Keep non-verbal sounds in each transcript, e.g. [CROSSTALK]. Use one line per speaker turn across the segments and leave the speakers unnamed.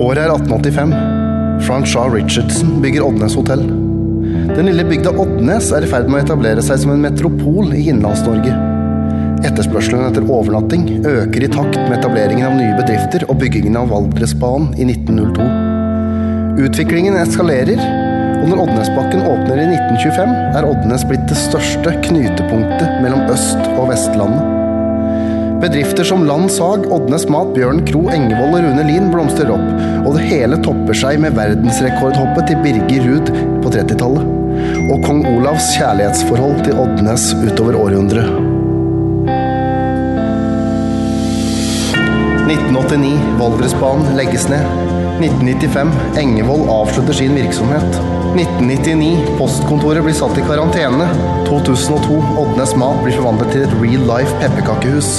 Året er 1885. Franchard Richardson bygger Oddnes hotell. Den lille bygda Oddnes er i ferd med å etablere seg som en metropol i Innlands-Norge. Etterspørselen etter overnatting øker i takt med etableringen av nye bedrifter og byggingen av Valdresbanen i 1902. Utviklingen eskalerer, og når Oddnesbakken åpner i 1925, er Oddnes blitt det største knutepunktet mellom Øst- og Vestlandet. Bedrifter som Land Sag, Oddnes Mat, Bjørn Kro, Engevold og Rune Lien blomstrer opp, og det hele topper seg med verdensrekordhoppet til Birger Ruud på 30-tallet. Og kong Olavs kjærlighetsforhold til Oddnes utover århundret. 1989 Valdresbanen legges ned. 1995 Engevold avslutter sin virksomhet. 1999 Postkontoret blir satt i karantene. 2002 Oddnes Mat blir forvandlet til et real life pepperkakehus.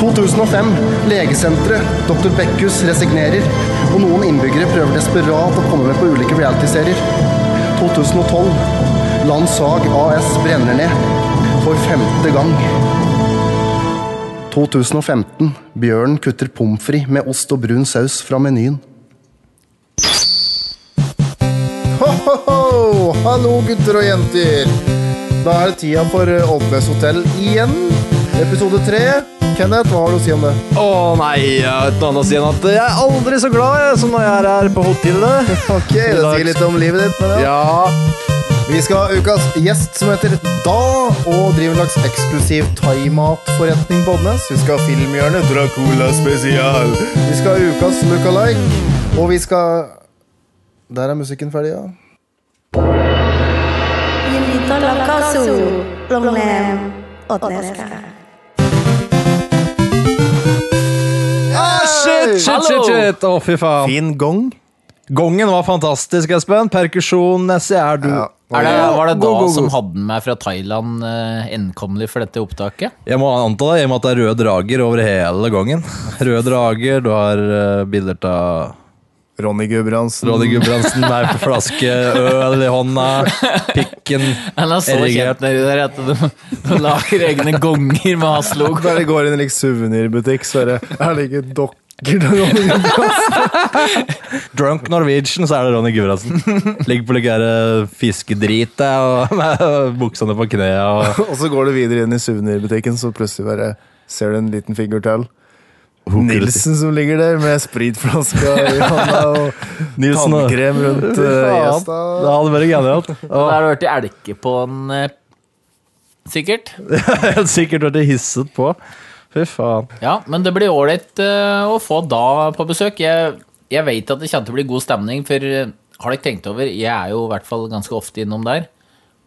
2005 Legesenteret. Dr. Bekkhus resignerer. Og noen innbyggere prøver desperat å komme med på ulike realityserier. 2012 Land Sag AS brenner ned. For femte gang. 2015. Bjørn kutter pommes frites med ost og brun saus fra menyen.
Ho-ho-ho! Hallo, gutter og jenter. Da er det tida for eh, Oddnes hotell igjen. Episode tre. Kenneth, hva har du å si om det?
Å nei, jeg har ikke noe annet å si enn at jeg er aldri så glad jeg, som når jeg er her på hotellet.
Ok, Det sier litt om livet ditt. Men ja.
Ja,
Vi skal ha ukas gjest som heter Da, og driver en slags eksklusiv thaimatforretning på Oddnes. Vi skal ha Filmhjørnet Dracula spesial. Vi skal ha ukas lookalike, og vi skal Der er musikken ferdig, ja.
ยินดีต้อนรับเข้าสู่โรงแรมอดเนสค่ะ
shit, shit, shit, shit. Å, fy faen.
Fin gong.
Gongen var fantastisk, Espen. Perkusjon, Nessie, er du
Er det, var det da
Go, go, go.
som hadde den meg fra Thailand eh, endkommelig for dette opptaket? [LAUGHS]
Jeg må anta det, i og med at det er røde drager over hele gongen. Røde drager, du har eh, bilder av
Ronny Gudbrandsen.
Ronny Gudbrandsen med en flaske øl i hånda, pikken
Den er så
erigert.
kjent nedi der at de, de lager egne gonger med Haslo.
Bare går inn i like, suvenirbutikk, så [LAUGHS] er det Her ligger dokker til Ronny Gudbrandsen.
Drunk Norwegian, så er det Ronny Gudbrandsen. Ligger på litt fiskedrit og [LAUGHS] med buksene på knea. Og
[LAUGHS] Og så går du videre inn i suvenirbutikken, så plutselig bare ser du en liten figur til. Nilsen som ligger der med spritflaska i hånda [LAUGHS] og
Nilsen, da.
tannkrem rundt
Faen,
eh, gjesta.
Det hadde vært [LAUGHS] genialt.
Da
Og
har du hørt i elke på den, eh, sikkert.
helt sikkert vært hisset på. Fy faen.
Ja, men det blir ålreit eh, å få da på besøk. Jeg, jeg vet at det kommer til å bli god stemning, for eh, har dere tenkt over, jeg er jo i hvert fall ganske ofte innom der,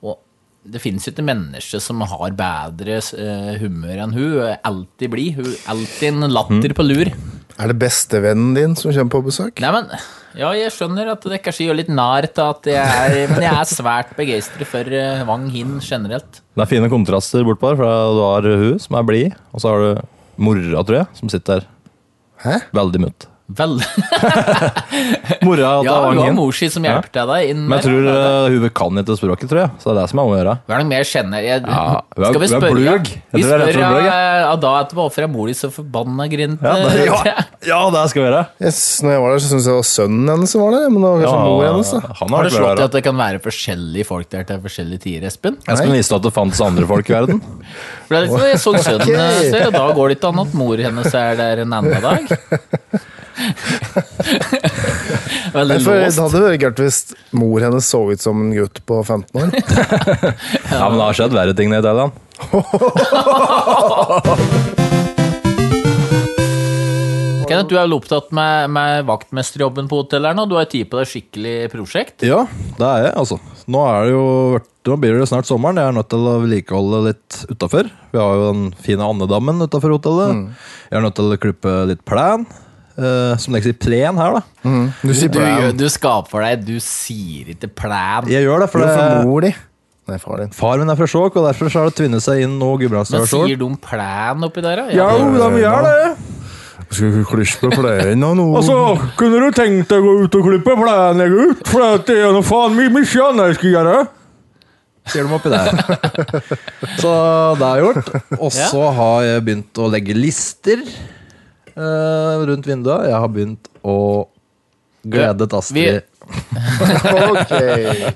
og det finnes jo ikke mennesker som har bedre eh, humør enn hun. Alltid blid. Hun alltid en latter på lur.
Er det bestevennen din som kommer på besøk?
Nei, men Ja, jeg skjønner at det kanskje gjør litt narr til at jeg er Men jeg er svært begeistret for eh, Wang Hin generelt.
Det er fine kontraster bortpå her, for du har hun som er blid, og så har du mora, tror jeg, som sitter der.
Hæ?
Veldig mutt.
Vel
Mora
[LAUGHS]
til
Ja, hun har
Vangen.
morsi som hjelper til deg inn
Men jeg
der.
tror eh, hun kan ikke språket, tror jeg. Så det er det som er om å gjøre.
Hva er det mer kjenner jeg,
Ja, hun er-
Skal vi
hun er
spørre
bløg. Jeg
Vi
tror det er rett
spør
og slett bløg,
ja,
ja.
ja, da etterpå hvorfor er mor di så forbanna grint? [LAUGHS]
Ja, det,
eh,
ja, ja, det skal vi gjøre.
Yes, når jeg var der, så syntes jeg det var sønnen hennes som var der, men det var
Ja,
kanskje mor hennes. da
han
Har
har
du
vært
slått
bra,
til
da.
at det kan være forskjellige folk der til forskjellige tider, Espen?
Jeg skulle vise at det fantes andre folk i
[LAUGHS]
verden.
For det er liksom, jeg så
[LAUGHS]
sønnen hennes der, og da går det ikke an at mor hennes er der en annen
[LAUGHS]
dag. Veldig
For Det
låst.
hadde vært gærent hvis mor hennes så ut som en gutt på 15 år.
Ja, men det har skjedd verre ting nede i Thailand.
Kenneth, du er vel opptatt med, med vaktmesterjobben på hotellet her nå. Du har tid på deg skikkelig prosjekt.
Ja, det er jeg, altså. Nå er det jo vært- Nå blir det snart sommeren. Jeg er nødt til å vedlikeholde litt utafor. Vi har jo den fine andedammen utafor hotellet. Jeg er nødt til å klippe litt plen. eh, som dere sier, plen her, da.
Du sier
Du,
plan.
gjør- du skaper deg Du sier ikke plan.
Jeg gjør det, for
Du er for
det,
mor di. Nei, far din.
far min er fra Skjåk, og derfor så har det tvinnet seg inn noe Gudbrandsdal
Men sier
Skjåk.
du om plan oppi der, da?
Ja, de gjør det.
Skal du klisje på plenen og noe?
Og så Altså, kunne du tenkt deg å gå ut og klippe plenen, gutt? For at det er noe faen mye mye annet jeg skal gjøre. Sier de oppi der. [LAUGHS] så det er gjort. Og så har jeg begynt å legge lister eh, rundt vinduet. Jeg har begynt å Gledet Astrid.
Ok.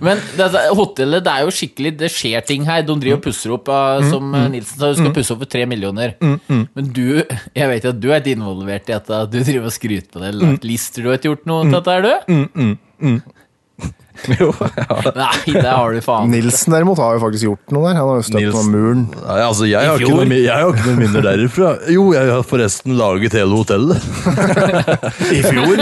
Men dette, hotellet, det er jo skikkelig Det skjer ting her. De driver og pusser opp, eh,
Mm,
som eh, Nilsen sa. Du skal pusse opp for tre millioner. Men du, jeg vet jo at du er ikke involvert i dette. Du driver og skryter på det.
Mm.
eller lagt Lister du har ikke gjort noe til dette, er du? [LAUGHS]
jo, jeg har det.
Nei, det har du faen.
Nilsen derimot har jo faktisk gjort noe der. Han har jo støpt
Nilsen.
noen muren.
Nei, altså, jeg har,
I
ikke
fjor?
noe, mi- jeg har ikke noe minner derifra. Jo, jeg har forresten laget hele hotellet. I fjor.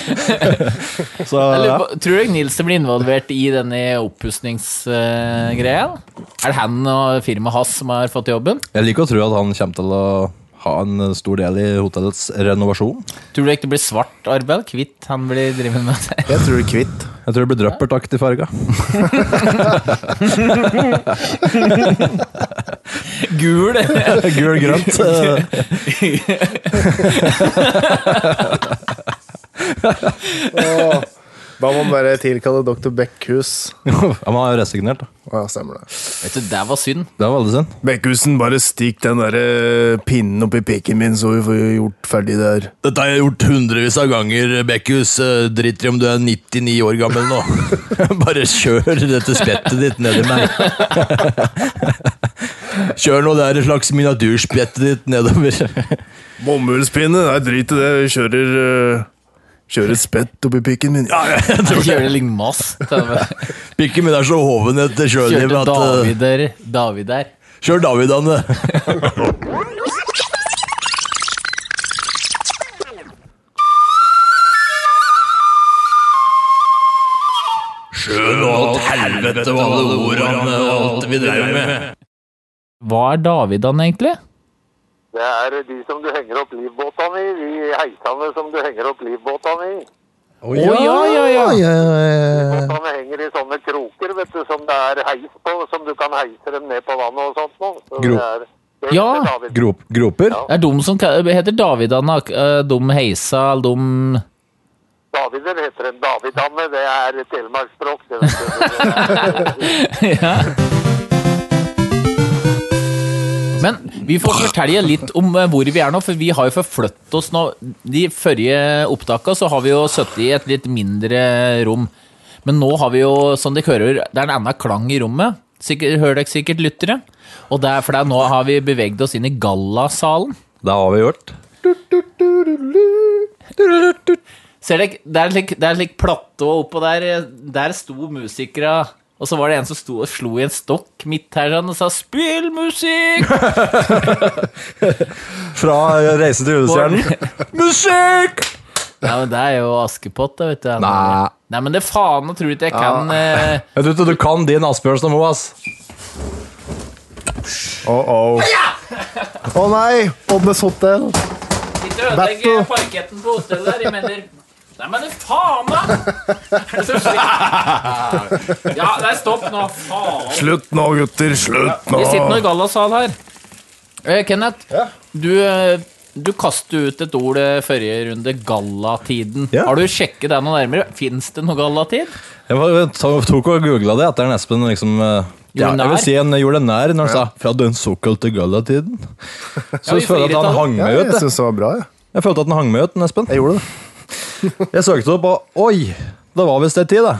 [LAUGHS] Så ja.
Eller, hva- tror du Nilsen blir involvert i denne oppussingsgreia? er det han og firmaet hans som har fått jobben?
Jeg liker å tro at han kommer til å ha en stor del i hotellets renovasjon.
Tror du ikke det blir svart arbeid? Hvitt han blir drevet med? [LAUGHS]
Jeg tror det er kvitt.
Jeg tror det blir drøppertaktig farga.
Gul!
[LAUGHS] Gul-grønt.
[LAUGHS]
eh,
Da må man bare tilkalle Dr. Bekkhus.
Ja, man har jo resignert, da.
Å, ja, stemmer det.
Vet du, det var synd.
Det er veldig synd.
Bekkhusen, bare stikk den der eh, pinnen oppi pikken min, så vi får gjort ferdig det her.
Dette har jeg gjort hundrevis av ganger, Bekkhus. Drit i om du er 99 år gammel nå. [LAUGHS] Bare kjør dette spettet ditt nedi [LAUGHS] meg. Kjør nå det her slags miniatyrspettet ditt nedover.
Bomullspinne? Nei, drit i det. Vi kjører eh, Kjører spett oppi pikken min. Ja, ja.
Han kjører lignmast.
Pikken min er så hoven etter sjølivet
Kjørte
at eh,
David der. David der.
Kjør David, Anne. Sjøen og alt helvete og alle ordene og alt vi drev med.
Hva er Davidan egentlig?
Det er de som du henger opp livbåtene i, de heisene som du henger opp livbåtene i.
Å ja, ja, ja.
Båtene henger i sånne kroker, vet du, som det er heis på, som du kan heise dem ned på vannet og sånt noe. Så
Gro-
det er, det
Ja.
heter David.
groper?
Det er de som ka- heter Davidan. ak- eh, De heisa, alle de
Davider heter en Davidamme, det er telemarksspråk, det vet du. Så det er-
Men vi får fortelle litt om eh, hvor vi er nå, for vi har jo forflyttet oss nå. De forrige opptakene så har vi jo sittet i et litt mindre rom. Men nå har vi jo, som dere hører, det er en annen klang i rommet. Sikkert, hører dere sikkert lyttere. Og det er fordi nå har vi beveget oss inn i gallasalen.
Det har vi gjort.
Ser dere, det er slik, det er slik platå oppå der. eh, Der sto musikere. Og så var det en som sto og slo i en stokk midt her sånn, og sa 'spill musikk'!
Fra Reisen til [LAUGHS] Musikk!
Ja, men det er jo Askepott, da, vet du.
Nei.
Nei, men det faen, jeg tror ikke jeg kan eh,
[LAUGHS] Jeg tror ikke du kan din Asbjørnsen og Moe, ass.
Å nei! Oddnes hotell.
Ikke ødelegg
Battle.
parketten på hotellet her, jeg mener Nei, men det faen, da! Er det så slik?
[LAUGHS]
Ja, nei, stopp nå. Faen.
Slutt nå, gutter. Slutt nå.
Vi sitter nå i gallasal her. Eh, Kenneth, du, eh, du kastet ut et ord eh, forrige runde, gallatiden.
Ja.
Har du sjekket det noe nærmere? Fins det noe gallatid?
Jeg var- to- tok og googla det etter en Espen liksom eh, ja,
Gjorde
Jeg vil
nær.
si en eh, gjorde det nær når han sa 'fra den såkalte
[LAUGHS]
gallatiden'. Så
vi
jeg føler at
flirer
han
av det.
hang
Ja,
med ut.
jeg
Jeg,
syns det var bra, jeg.
jeg følte at han hang med ut, den Espen.
Jeg gjorde det.
[LAUGHS] Jeg søkte opp, og oi! Det var visst ei tid, da.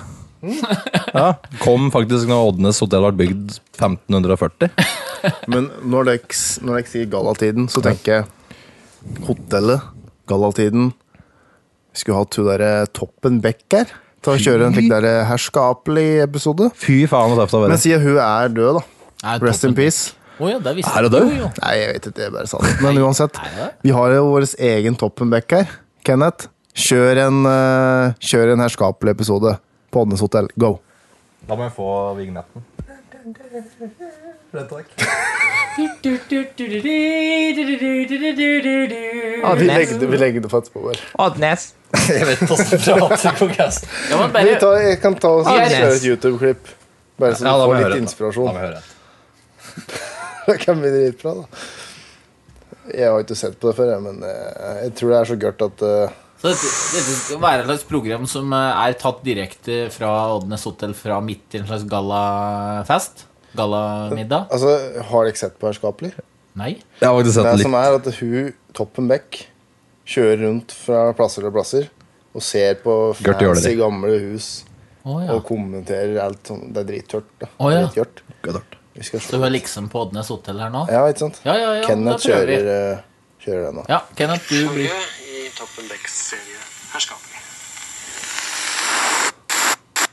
Mm.
[LAUGHS] Ja, kom faktisk når Oddnes hotell ble bygd 1540.
Men når dere s- når dere sier gallatiden, så tenker jeg hotellet, gallatiden Vi skulle hatt hun derre Toppen Beck her til å kjøre en slik derre herskapelig episode.
Fy faen, hva tøft det
Men
var.
siden hun er død, da.
Nei,
Rest in
Toppen
peace.
Å ja, det visste
Er det
du
død?
jo.
Nei, jeg vet ikke, jeg bare sa det. Men uansett, vi har jo vår egen Toppen Beck her. Kenneth, kjør en, eh, kjør en herskapelig episode på Odnes hotell. Go!
Da må jeg få vignetten.
vi, legger, det på et spor.
[LAUGHS]
Ja, men bare,
jeg kan ta og
Yes. kjøre et
YouTube-klipp. Bare så
Ja, da må jeg høre.
[LAUGHS]
Da må jeg høre.
Det kan bli dritbra, da. Jeg har ikke sett på det før, jeg, men eh, jeg tror det er så gørt at eh,
Så dette, dette skal være et slags program som eh, er tatt direkte fra Oddnes Hotel fra midt i en slags gallafest? Gallamiddag?
Altså, har dere sett på Herskapelig?
Nei.
Jeg har faktisk
Det
sett litt.
som er at hun, Toppen Beck, kjører rundt fra plasser til plasser og ser på
Gert Gjøler.
fancy, gamle hus
Å ja.
og kommenterer alt sånn. Det er drittørt. da.
Å, ja.
Drittgjørt.
Gødart.
Vi skal se.
Så vi er liksom på Oddnes hotell her nå?
Ja, ikke sant?
Ja, ja, ja,
Kenneth
da prøver vi.
kjører, eh, kjører den nå.
Ja, Kenneth, du blir
i Toppen Becks serie Herskapelig.
sånn-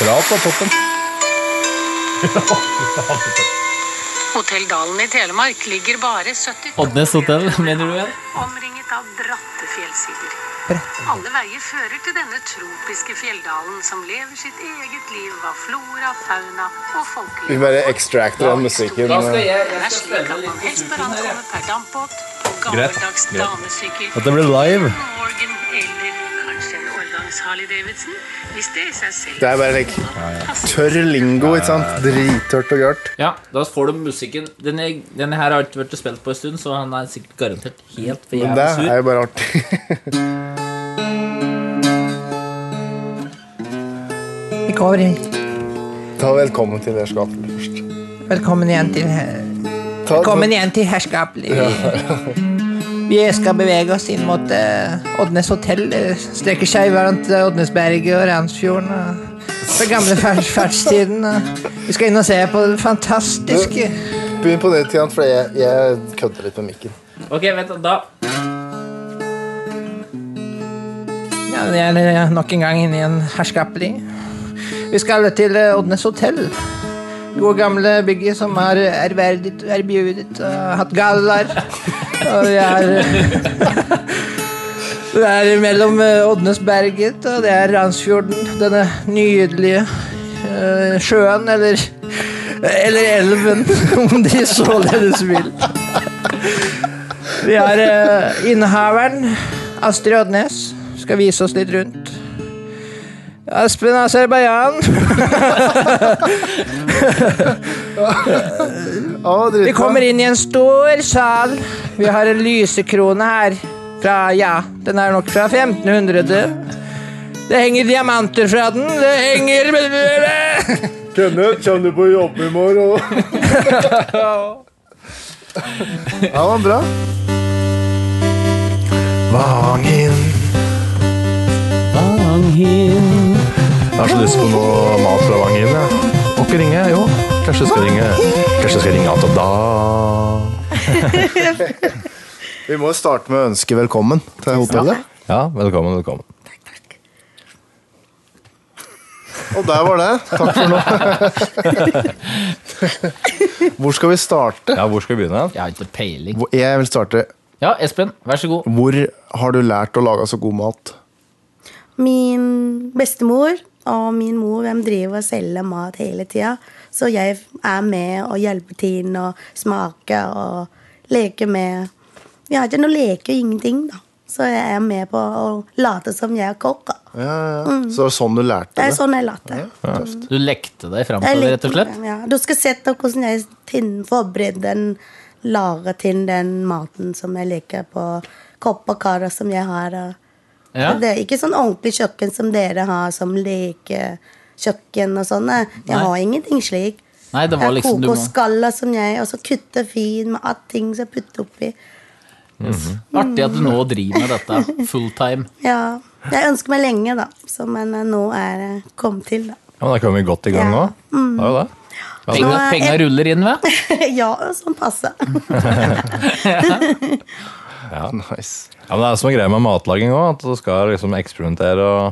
Bra på toppen.
Hotell Dalen i Telemark ligger bare 70
Oddnes hotell, mener du igjen?
Omringet av bratte fjellsider. Alle veier fører til denne tropiske fjelldalen som lever sitt eget liv av flora, fauna og
Vi
folkeliv.
bare extracter den musikken. eh,
Da skal jeg,
Det
jeg
er
skal
slik
spille
at man
litt
helst bør
musikken her, jeg.
ankomme per dampbåt, på
Greit,
gammeldags
greit.
damesykkel,
Dette blir live.
Morgan eller kanskje en årgangs Harley Davidson, hvis det i seg selv
Det er bare like, tørr lingo, ikke sant? Drittørt og gørt.
Ja, da får du musikken. Denne, denne her har ikke vært spilt på en stund, så han er sikkert garantert helt for
Men det
jævlig sur.
er jo bare artig. [LAUGHS]
Velkommen,
Ta velkommen til Herskapelig først.
velkommen igjen til her-
Ta,
Velkommen igjen til Herskapelig. [LAUGHS] Vi skal bevege oss inn mot eh, Oddnes hotell. eh, Strekker seg hverandre til Oddnesberget og Randsfjorden. og Fra gamle ferds ferdstiden. og Vi skal inn og se på det fantastiske.
Begynn på nytt igjen, for jeg, jeg kødder litt med mikken.
Ok, vent da. da.
Ja, det er eh, nok en gang inne i en herskapelig. Vi skal til eh, Oddnes hotell. Gode gamle bygget som har eh, erverdet, erbjudet og hatt gallaer. Og vi er eh, [LAUGHS] Det er mellom eh, Oddnesberget og det er Randsfjorden. Denne nydelige eh, sjøen, eller Eller elven, [LAUGHS] om de således vil. Vi har eh, innehaveren, Astrid Odnes. Skal vise oss litt rundt. Aspen Aserbajdsjan.
Å,
Vi kommer inn i en stor sal. Vi har en lysekrone her. Fra, ja, den er nok fra 1500. Det henger diamanter fra den. Det henger
Kenneth, kommer du på jobb i morgen? ja, det var bra.
Jeg har så lyst på noe mat fra Vangen. jeg. Og ikke ringe, jo. Kanskje jeg skal ringe Kanskje jeg skal ringe Ata da.
Vi må jo starte med å ønske velkommen til hotellet.
Ja, velkommen, velkommen.
Og der var det. Takk for
[LAUGHS]
nå. [LAUGHS] Hvor skal vi starte?
Ja, hvor skal vi begynne?
Jeg har ikke peiling.
Hvor- Jeg vil starte
Ja, Espen, vær så god.
Hvor har du lært å lage så god mat?
Min bestemor og min mor de driver og selger mat hele tida. Så jeg er med og hjelper til og smaker og leker med Vi har ikke noe leker, ingenting, da. Så jeg er med på å late som jeg er kokk. da.
Ja, ja, ja. Så det er sånn du
Mm.
lærte
Det
det?
er sånn jeg later.
Du lekte deg fram
Det er
til det,
litt-
rett og slett?
Ja, du skal se til hvordan jeg tin- forbereder den, lager til den maten som jeg liker på kopp og karer som jeg har. og-
Ja.
Det er ikke sånn ordentlig kjøkken som dere har, som lekekjøkken og sånn. nei. Jeg
Nei.
har ingenting slik.
Nei, det var
Jeg
liksom du
koker
må-
skaller som jeg, og så kutter fin med alt ting som jeg putter oppi.
Artig at du nå driver med dette fulltime.
Ja, jeg ønsker meg lenge, da. Så, men eh, nå er jeg kommet til, da. [LAUGHS]
Ja, men Da kommer vi godt i gang nå. Det er jo det.
Penga,
Nå eh, er-
penga ruller inn, hva?
ja, sånn passe.
Nice.
Ja, men det er som en greie med matlaging òg, at du skal liksom eksperimentere og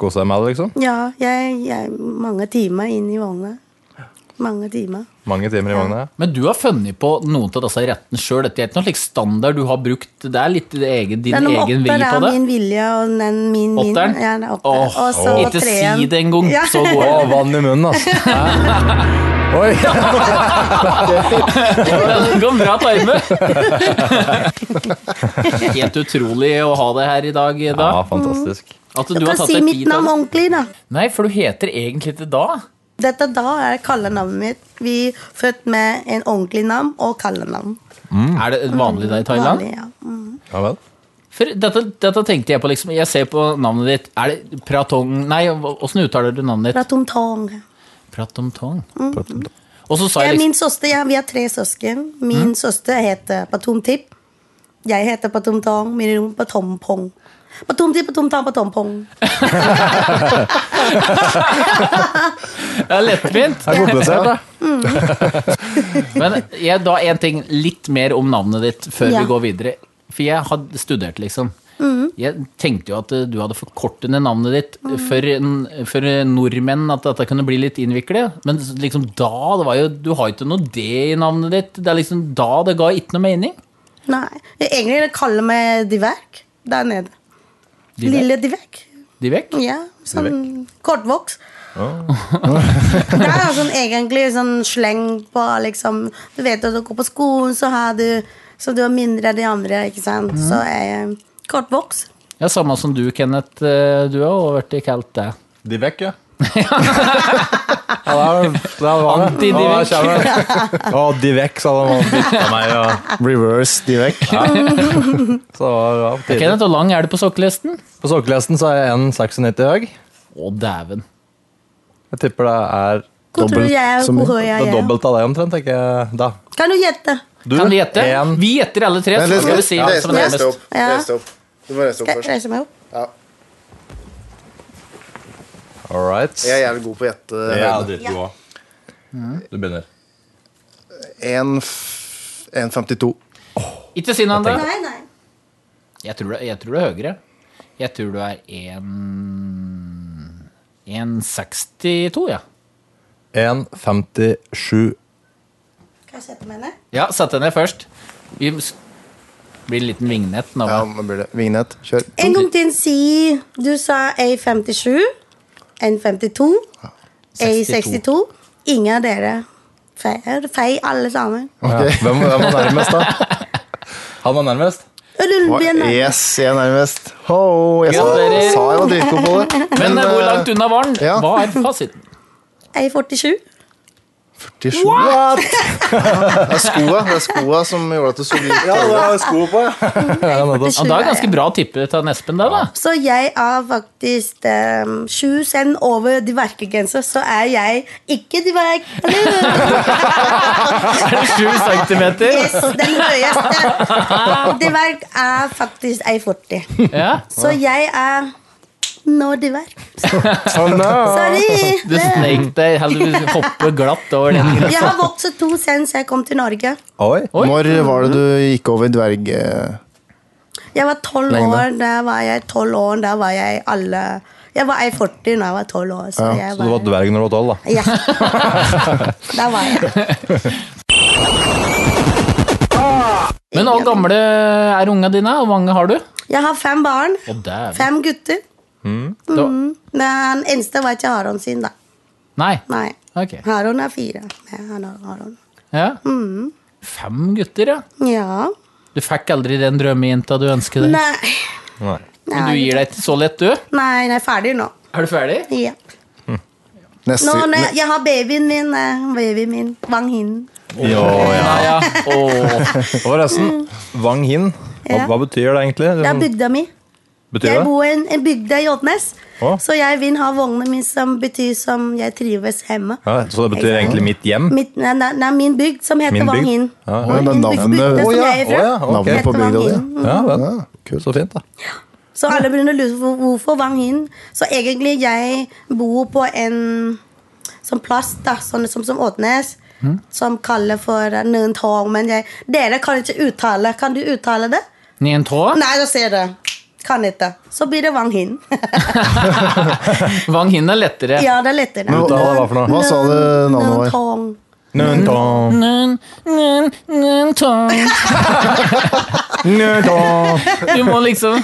kose deg med det. liksom.
Ja, jeg, jeg mange timer inn i vogna. Mange timer.
Mange timer i vogna.
Men du har funnet på noen av disse rettene sjøl. Dette er ikke noe slik standard du har brukt. Det er litt din egen, din
Den om
egen vri
åtter
på
er
det.
min vilje, og den min min.
Åtteren?
Ja, det er åtter.
Åh,
og så
ikke
treen.
si det engang,
Ja.
så
Å,
går det.
vann i munnen, altså! Hæ? Oi!
[LAUGHS] Det går bra, Tarme. [LAUGHS] Helt utrolig å ha det her i dag, da.
Ja, fantastisk.
At du
Du
har
kan
tatt
si
deg
mitt
tid til
navn
det.
ordentlig, da.
Nei, for du heter egentlig ikke da.
Dette da er kallenavnet mitt. Vi er født med en ordentlig navn og kallenavn.
Er det vanlig da i Thailand?
Vanlig, ja. Mm.
Ja vel.
For dette, dette tenkte jeg på, liksom. Jeg ser på navnet ditt. Er det Pratong Nei, åssen uttaler du navnet
Fra
ditt?
Tom Tong.
Pratomtong. Og så sa
Det er
jeg liksom Mm.
min søster, ja, vi er tre søsken. Min søster heter Patum Tip. Jeg heter Patumtong, min rom Patompong. Patumti, Patumtang, Patompong.
Det er lettvint. Mm.
Det er [LAUGHS] komplisert, da.
[LAUGHS] Men jeg, da en ting litt mer om navnet ditt før
Ja.
vi går videre. For jeg hadde studert, liksom.
Mm.
Jeg tenkte jo at eh, du hadde forkortet ned navnet ditt for, en- for eh, nordmenn, at dette kunne bli litt innviklet. Men s- liksom da, det var jo Du har jo ikke noe D i navnet ditt. Det er liksom da det ga ikke noe mening.
Nei. Egentlig det kaller meg Diverk der nede.
Diverk?
Lille Diverk.
De vekk.
Ja, sånn kortvokst. det er jo sånn, egentlig sånn sleng på liksom Du vet at du går på skolen, så har du Så du er mindre enn de andre, ikke sant? Så er jeg kortvokst.
Ja, samme som du, Kenneth. eh, Du har også vært kalt det.
De vekk, ja. ja der, der var det.
Anti-de
Ja, der
vekk.
kommer det. [LAUGHS] Å, de vekk, sa de og bytta meg. Og,
Reverse Divek.
så var det ja, tidlig.
Kenneth, hvor lang er du på sokkelisten?
På sokkelesten så er jeg 1,96 høy.
Å, dæven.
Jeg tipper det er
Hvor tror du jeg er?
som-
Hvor høy
det
jeg er?
dobbelte av det omtrent, tenker jeg da.
Kan du gjette?
Du,
Kan du gjette?
en-
Vi gjetter alle tre, så skal vi si hvem som er nærmest.
opp.
Ja.
Reis deg opp. Du må
Skal
reise deg
jeg
opp først.
reise meg opp?
All right.
Jeg er jævlig god på å gjette.
Ja,
høyden.
dritgod også. Du begynner.
1 f- 1,52.
Ikke si noe annet.
Nei, nei.
Jeg tror, det- jeg tror det er høyere. Jeg tror du er 1 1,62, ja.
1,57.
Kan jeg sette meg ned?
Ja, sett deg ned først. Vi s- blir en liten vignett nå.
Ja, nå blir det Vignett. Kjør.
En gang til si Du sa A57, N52, A62. Ingen av dere. Feil, feil alle sammen.
Ja. Hvem, hvem var nærmest,
[LAUGHS]
da? Han var nærmest.
Rullebyen er
Yes, jeg er nærmest. Ho, jeg sa,
Gratulerer.
sa jeg var dritgod på det.
Men eh, hvor
eh,
langt unna var den?
ja.
Hva er fasiten?
A47.
47. What? [LAUGHS] Det er skoa, det er skoa som gjorde at det så litt
Ja, det er sko på, ja.
Ja,
47
da er
er
det ganske
jeg.
bra tippe til Espen, da. da.
Så jeg er faktisk um, sju cent over de verkegrenser, så er jeg ikke de verk...
[LAUGHS] Er det 7 centimeter?
Yes, den høyeste. De verk er faktisk A40.
Ja.
Så jeg er nå de verk. Sorry!
Du snek deg heldigvis hoppe glatt over den.
Jeg har vokst to cent siden jeg kom til Norge.
Oi.
Oi.
Når var det du gikk over dverg... eh,
Jeg var tolv
Lenge da.
år, da var jeg tolv år, da var jeg alle Jeg var A40 da jeg var tolv år, så jeg
Så du var
var
dverg når du var tolv, da?
Ja. [LAUGHS] Da var jeg.
Men hvor gamle er unga dine? Hvor mange har du? Å,
Jeg har fem barn.
dæven.
Fem gutter.
Da-
Den eneste var ikke Haron sin, da.
Nei.
Nei.
Ok.
Haron er fire. Nei, han har Haron.
Ja.
Mm.
Fem gutter, ja.
Ja.
Du fikk aldri den drømmejenta du ønsket deg?
Nei.
Nei.
Men du gir deg ikke så lett, du?
Nei, jeg er ferdig nå.
Er du ferdig?
Ja.
Neste,
Nå, når jeg, jeg har babyen min, eh, babyen min, Wang Hin.
Ja, ja.
Ja, ja. Åh.
Og forresten, Mm. Wang Hin, hva,
Ja.
hva betyr det egentlig?
Det er
Liksom,
bygda mi.
betyr
Jeg
det?
bor i en, en bygd i Oddnes,
Å.
så jeg vil ha vognen min som betyr som jeg trives hjemme.
Ja, så det betyr egentlig mitt hjem?
Mitt, nei, nei, nei, min bygd som heter
Min
Wang
bygd?
Hin.
Ja, ja.
Oi, det er
Min
navnet.
bygd- bygda
Å,
som
ja,
jeg er
å,
fra.
ja, ok.
Navnet på
heter Wang
bygda di.
Hin.
Ja, vel. Så fint, da.
Så alle begynner å lure på hvorfor Wang Hin. Så egentlig jeg bor på en sånn plass da, sånn som, som Åtnes,
Mm.
som kaller for eh, Nøntong, men jeg, dere kan ikke uttale. Kan du uttale det?
Ni en tå?
Nei, da ser det. Kan ikke. Så blir det Wang [LAUGHS] Hin.
Vang Hin er lettere.
ja, det er lettere.
Men
hva- hva for noe?
Hva sa du navnet var?
Nøntong.
Nøntong,
Nun, nun, nun, tong.
nøntong.
Vi må liksom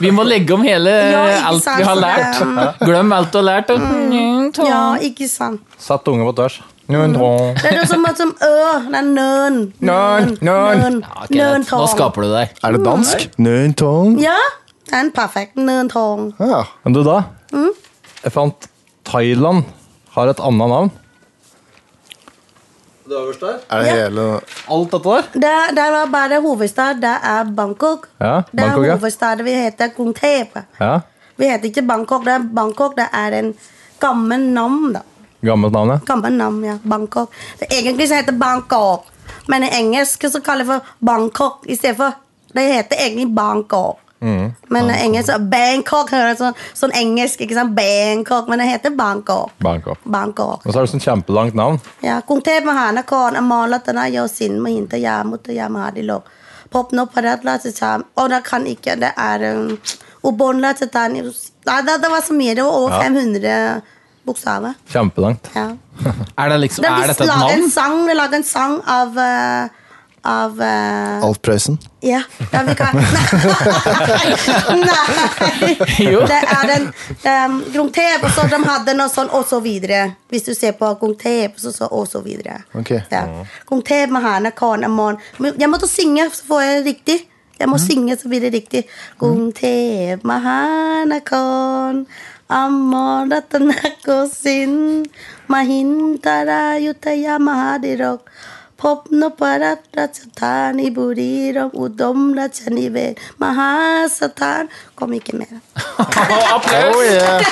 Vi må legge om hele
Ja, ikke
alt
sant,
vi har
så
lært.
det, mm.
Glem alt du har lært. og Nun, tong.
Ja, ikke sant.
Satt unge på tvers.
Mm.
Nøntong.
Det er noe som, som ø, det er nøn.
Nøn, nøn.
Ja, ok,
Nøn
Nå
tong.
skaper du deg.
Er det dansk? Nøntong.
Ja, det er en perfekt nøn tong.
Ja.
Men du, da?
Mm.
Jeg fant Thailand har et annet navn. Det øverste der?
Er det hele
Alt dette der?
Det, det var bare hovedstad, det er Bangkok.
Ja,
det
Bangkok, ja.
er hovedstaden vi heter Kung Tepe.
Ja.
Vi heter ikke Bangkok, det er Bangkok, det er en gammel nam, da.
Gammelt navn, ja.
Gammel nam, ja. Bangkok. Så egentlig så heter Bangkok, men i engelsk så kaller vi for Bangkok i stedet for Det heter egentlig Bangkok. Men engelsk, Bangkok høres sånn, sånn engelsk ikke sant? Bangkok, men det heter Bangkok.
Bangkok.
Bangkok.
Og så er det sånn kjempelangt navn.
Ja,กรุงเทพมหานครอมรรัตนโยสินมหินทยามุตยามหาดิโลกพบนพรัตน์ราชชามโอนาคันอีกอ่ะได้อ่านอุบลราชธานีอ่ะ det, det var så mye. Det var over
Ja.
500 bokstaver.
Kjempelangt.
Ja.
Er, det liksom,
Det
er
er
dette et
laget en
navn?
sang, det er laget en sang av eh, av eh,
Alf Prøysen.
Ja. Da vi
[LAUGHS]
kan [LAUGHS] Nei! Nei.
Jo.
Det er den um, Grungtep, og så de hadde noe sånn, og så videre. Hvis du ser på Grungtep, så så og så videre.
Ok.
Ja. Grungtep, Mahana, Khan, Amon. Men Jeg måtte synge, så får jeg det riktig. Jeg må synge, så blir det riktig. Grungtep, Mahana, Khan. Amon Ratanakosin Mahintara Yutaya Mahadirok Popnoparat Rajatani Buriram Udom Rajanive Mahasatan Kom ikke mer.
Applaus!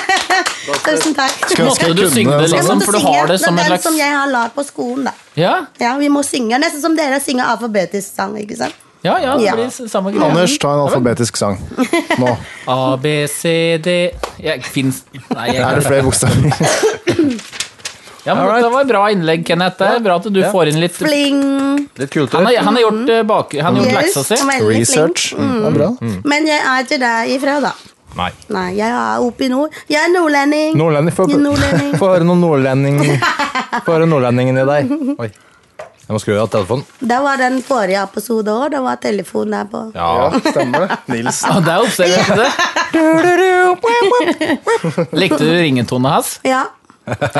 Tusen takk.
Måtte du synge det,
Jeg
liksom?
måtte
For du
synge
har det som
den
en slags
som jeg har lagd på skolen, da.
Ja,
Ja, vi må synge, Nesten som dere synger alfabetisk sang. ikke sant?
ja, ja det
Ja.
blir s- samme greie.
Anders, ta en alfabetisk sang. Nå.
A, B, C, D jeg, finnes, Nei, jeg,
Er det flere bokstaver?
[LAUGHS] ja, men Det var bra innlegg, Kenneth. Det er bra at du får inn litt
Bling!
Litt kulere.
Han har, han har gjort, eh, bak, han har gjort
Yes,
leksa si.
veldig flink.
Research.
Mm.
Det er bra.
Men jeg er ikke der ifra, da.
Nei.
Nei, jeg er oppe i nord. Jeg er nordlending.
Nordlending. Få
Jeg er
[LAUGHS]
nordlending.
[LAUGHS] få høre noen nordlending Få høre nordlendingen i deg.
Oi. Jeg må skru av telefonen.
Det var den forrige episoden òg. Det var telefon der på.
Ja.
Stemmer det. Nils.
[LAUGHS] Ja, det er observerende. Likte du ringetona hans?
Ja.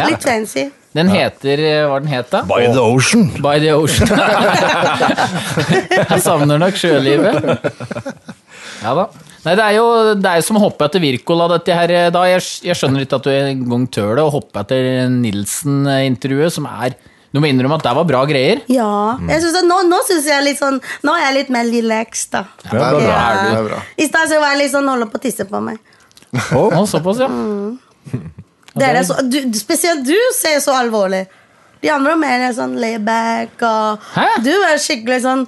Litt fancy.
Den heter eh, Hva den het da?
By the ocean.
By the Ocean. [LAUGHS] Jeg savner nok sjølivet. Ja da. Nei, det er jo det er jo som å hoppe etter Wirkola, dette her. eh, Da. Jeg, jeg skjønner ikke at du en gang tør det, å hoppe etter Nilsen-intervjuet, som er Du må innrømme at det var bra greier.
Ja. Jeg synes at nå, nå synes jeg litt sånn Nå er jeg litt mer relaxed, da.
Det er bra.
Ja.
Det er bra.
I stad så var jeg litt sånn holdt på å tisse på meg.
Å, såpass, ja.
Dere, så, du, spesielt du ser så alvorlig. De andre er mer sånn layback og
Hæ?
Du er skikkelig sånn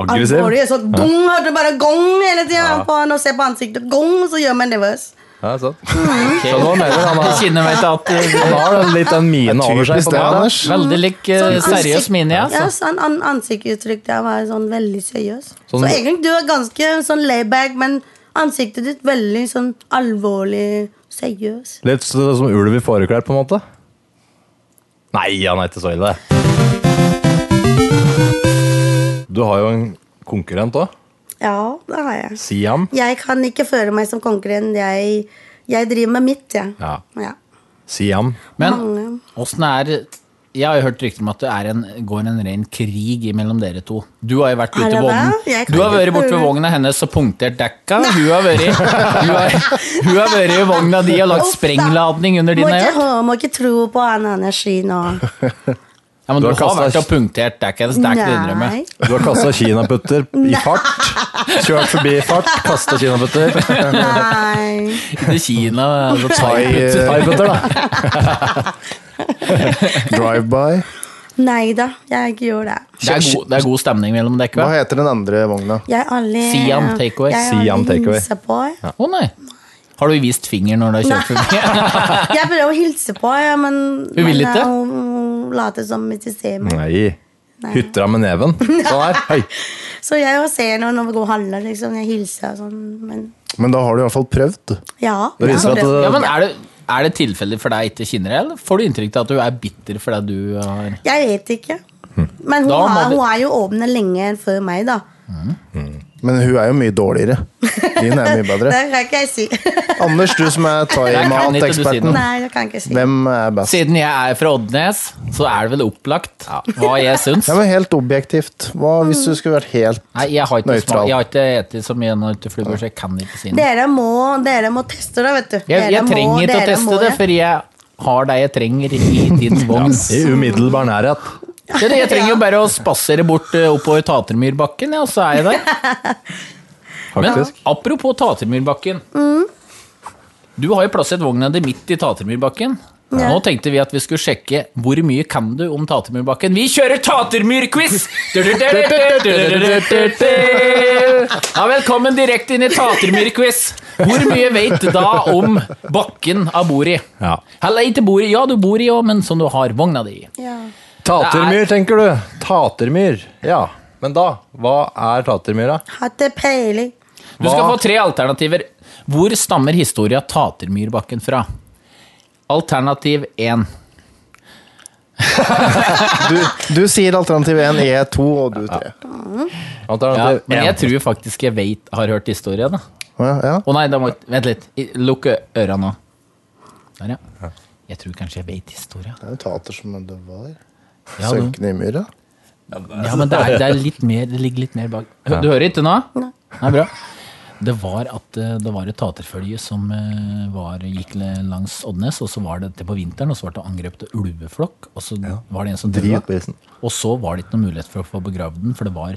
Aggressiv.
alvorlig. Sånn gong, hørte bare gong hele tida på han og ser på ansiktet. Gong, så gjør meg nervøs.
Ja, sant.
Skjønner hva han mener. Han
Jeg
har-
[LAUGHS] kjenner meg til at eh,
han har litt den minen over seg.
Typisk
på
det,
meg, da.
Anders.
Veldig lik eh,
Sånn
seriøs
ansikt-
mine, ja.
Ja,
Altså.
sånn an ansiktsuttrykk der var sånn veldig seriøs.
Sånn-
så egentlig du er ganske sånn layback, men ansiktet ditt veldig sånn alvorlig seriøs.
Litt så- som ulv i fåreklær, på en måte. Nei, han er ikke så ille. Du har jo en konkurrent òg.
Ja, det har jeg.
Siam.
Jeg kan ikke føle meg som konkurrent. Jeg, jeg driver med mitt, jeg.
Ja.
Ja.
Siam.
Men åssen er Jeg har jo hørt rykter om at det er en, går en ren krig mellom dere to. Du har jo vært
Er
ute
det
i vognen.
det? Jeg kan
Du har
ikke
vært borte ved
høre.
vogna hennes og punktert dekka. Hun har vært
[LAUGHS]
hun har, hun har vært i vogna di og lagt
Uff da.
sprengladning under
Må
dine
ikke,
øyne.
hå- må ikke tro på annen energi nå.
Ja, men
Du
du
har
har
kastet-
vært og punktert dekka hennes. [LAUGHS] Det er ikke det å innrømme.
Nei.
Du har kasta kinaputter i fart. Kjørt forbi i fart, kasta kinaputter.
Nei.
Ikke Kina. Altså,
Thai,
Thai.
eh,
Thaiputter, da.
Drive-by.
Neida, jeg gjør det.
Det er, god, det er god stemning mellom dere.
Hva
hva?
heter den andre vogna?
Jeg er aldri
Siam takeaway.
Jeg er aldri
Siam takeaway.
hilse på.
Å nei. Har du vist finger når du har kjørt forbi?
[LAUGHS] Jeg prøver å hilse på, ja, men
Hun vil
men,
ikke?
ja, Hun hun later som ikke ser meg.
Nei. Hytra med neven. Sånn her. Hei.
Så jeg jo ser noen når vi går og handler, liksom. Jeg hilser og sånn, men
Men da har du i hvert fall prøvd.
ja.
Det viser at
Ja,
det,
men er det, er det tilfeldig for deg ikke kjenner deg, eller får du inntrykk av at du er bitter fordi du har
Jeg vet ikke.
Hm.
Men hun,
Da må
har,
vi-
hun er jo åpne lenge før meg, da.
Men hun er jo mye dårligere. Din er
Det
mye [LAUGHS] bedre.
kan ikke jeg si. [LAUGHS]
Anders, du som er
kan ikke du si
thaimat-eksperten.
noe.
Nei, det kan jeg ikke si.
Hvem er best?
Siden jeg er fra Oddnes, så er det vel opplagt hva jeg syns.
[LAUGHS] Ja, men helt objektivt. Hva hvis du skulle vært helt
Nei, jeg har ikke, smak,
Nøytral.
jeg har ikke etet så mye nøtteflubber, så jeg kan ikke si noe.
Dere må, dere må teste det, vet du.
Jeg,
Dere
jeg
må-
trenger ikke å
dere må
teste det, for jeg har det jeg trenger i
[LAUGHS]
din vogn.
I umiddelbar nærhet.
Det er
[LAUGHS]
det, Jeg trenger jo bare å spasere bort eh, oppover Tatermyrbakken, ja, og så er jeg der.
[LAUGHS]
Men
Faktisk. Mm.
apropos Tatermyrbakken. Du har jo plassert vogna di midt i Tatermyrbakken. Nå tenkte vi at vi skulle sjekke hvor mye kan du om
[LAUGHS]
Tatermyrbakken. Vi kjører Tatermyrquiz! Ja, velkommen direkte inn i Tatermyrquiz. Hvor mye vet du da om bakken av bordet?
Ja.
Eller ikke bordet, ja du bor i òg, men som du har vogna di i.
Ja.
Tatermyr, tenker du. Tatermyr. Ja. Men da, hva er Tatermyra?
Hadde peiling.
Du skal
Hva?
få tre alternativer. Hvor stammer historia Tatermyrbakken fra? Alternativ 1.
Du, du sier alternativ 1, E2 og du 3.
Ja,
Alternativ
men jeg
én.
tror faktisk jeg vet, har hørt historia, da.
Ja, ja.
Å nei, da må jeg Vent litt. I- Lukk øra nå. Der, ja. Jeg tror kanskje jeg vet historia.
Det er jo tater som det var.
Ja, du.
Sønkende i myra.
Ja, men Altså, det, er, det, er litt mer, det ligger litt mer bak. Hø- Du hører ikke nå? Nei, bra. Det var at eh, det var et taterfølge som eh, var, gikk le- langs Oddnes, og så var det til på vinteren, og så ble det angrepet av ulveflokk, og så var det en som døde.
Dritbesen.
Og så var det ikke noen mulighet for å få begravd den, for det var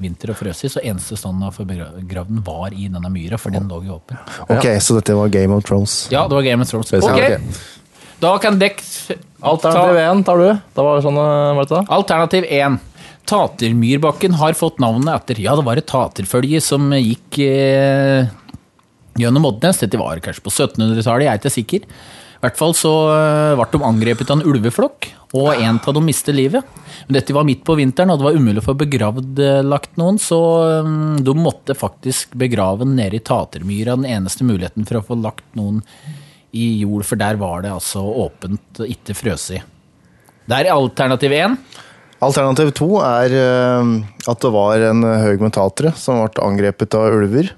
vinter og frøs i, så eneste standen å få begravd den var i denne myra, for den lå jo åpen.
Ok, så dette var Game of Thrones.
Ja, det var Game of Thrones.
Ja,
ok.
Ok, da kan dekk
Alternativ én tar du. Da var det sånn, eh, var det ikke det?
Alternativ 1. Tatermyrbakken har fått navnet etter Ja, det var et taterfølge som gikk eh, gjennom Oddnes. Dette var kanskje på 1700-tallet, jeg er ikke sikker. I hvert fall så eh, ble de angrepet av en ulveflokk, og en av dem mistet livet. Men dette var midt på vinteren, og det var umulig å få begravdlagt noen, så eh, de måtte faktisk begrave den nede i Tatermyra. Den eneste muligheten for å få lagt noen i jord, for der var det altså åpent og ikke frøsig. Det er alternativ 1.
Alternativ 2 er eh, at det var en eh, haug med tatere som ble angrepet av ulver.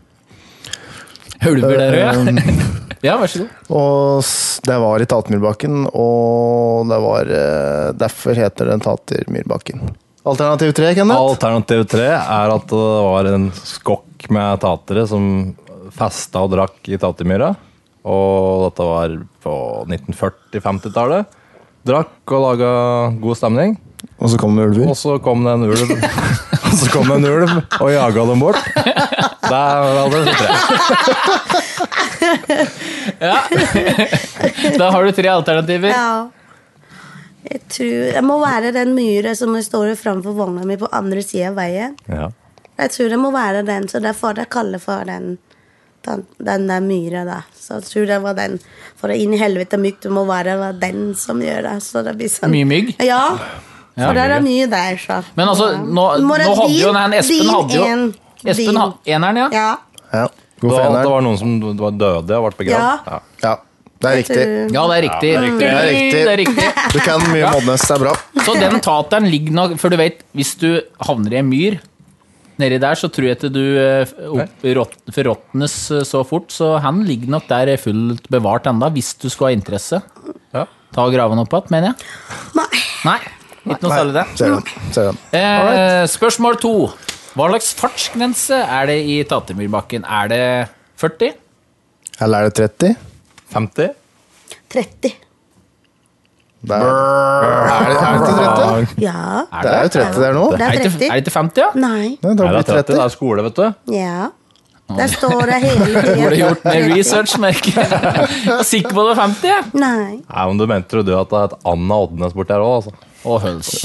Ulver der òg, ja. [LAUGHS] ja, vær så god.
Og s- det var i Tatermyrbakken, og det var eh, Derfor heter den Tatermyrbakken. Alternativ 3, Kenneth?
Alternativ tre er at det var en skokk med tatere som festa og drakk i Tatermyra. Og dette var på 1940-50-tallet. Drakk og laga god stemning.
Og så kommer ulver.
Og så kom det en ulv [LAUGHS] Og så kom det en ulv og jaga dem bort. Det er allerede tre.
Da har du tre alternativer.
Ja. Jeg tror Det må være den myra som står framfor vogna mi på andre sida av veien.
Ja.
Jeg tror det må være den, så derfor jeg kaller for den den, den der myra, da. Så jeg tror det var den. For inn i helvete mygg, det må være var den som gjør det. Så det blir sånn
Mye mygg.
Ja. For det er mye der, så.
Men altså, nå,
Ja.
nå
Må det
hadde jo
din-
den Espen
din
hadde jo
en, din.
Espen ha- eneren, ja.
Ja.
Ja.
Det
God
var,
for
at det
eneren.
var noen som d- var døde og ble begravd.
Ja.
Ja, det er riktig.
Tror-
Ja, det er riktig.
Det
Det
er
er riktig.
Du kan mye om Oddnes, det er bra.
Så den tateren ligger nå For du vet, hvis du havner i en myr nedi der, så tror jeg ikke du eh, opp- råt- forråtnes eh, så fort. Så han ligger nok der fullt bevart enda, hvis du skulle ha interesse.
Ja.
Ta og grave den opp igjen, mener jeg. Nei. Ikke noe særlig det.
Ser den. Ser den.
Eh, spørsmål to. Hva slags fartsgrense er det i Tatermyrbakken? Er det 40?
Eller er det 30?
50?
30.
Det er, er, det, er det ikke 30?
Ja.
Er
Det er jo 30 der nå.
Det
Er
er
det ikke-
30.
er det ikke 50, ja?
Nei.
Nei, det
Er
blir
det 30? Det
30.
er skole, vet du.
Ja. Der står det hele tiden.
Burde gjort mer
[LAUGHS]
research, merker jeg. Jeg er Sikker på det er 50? jeg.
Nei.
Nei, men Du mente jo du at det er et Anna Oddnes borti her òg, altså.
Å, [LAUGHS] høls.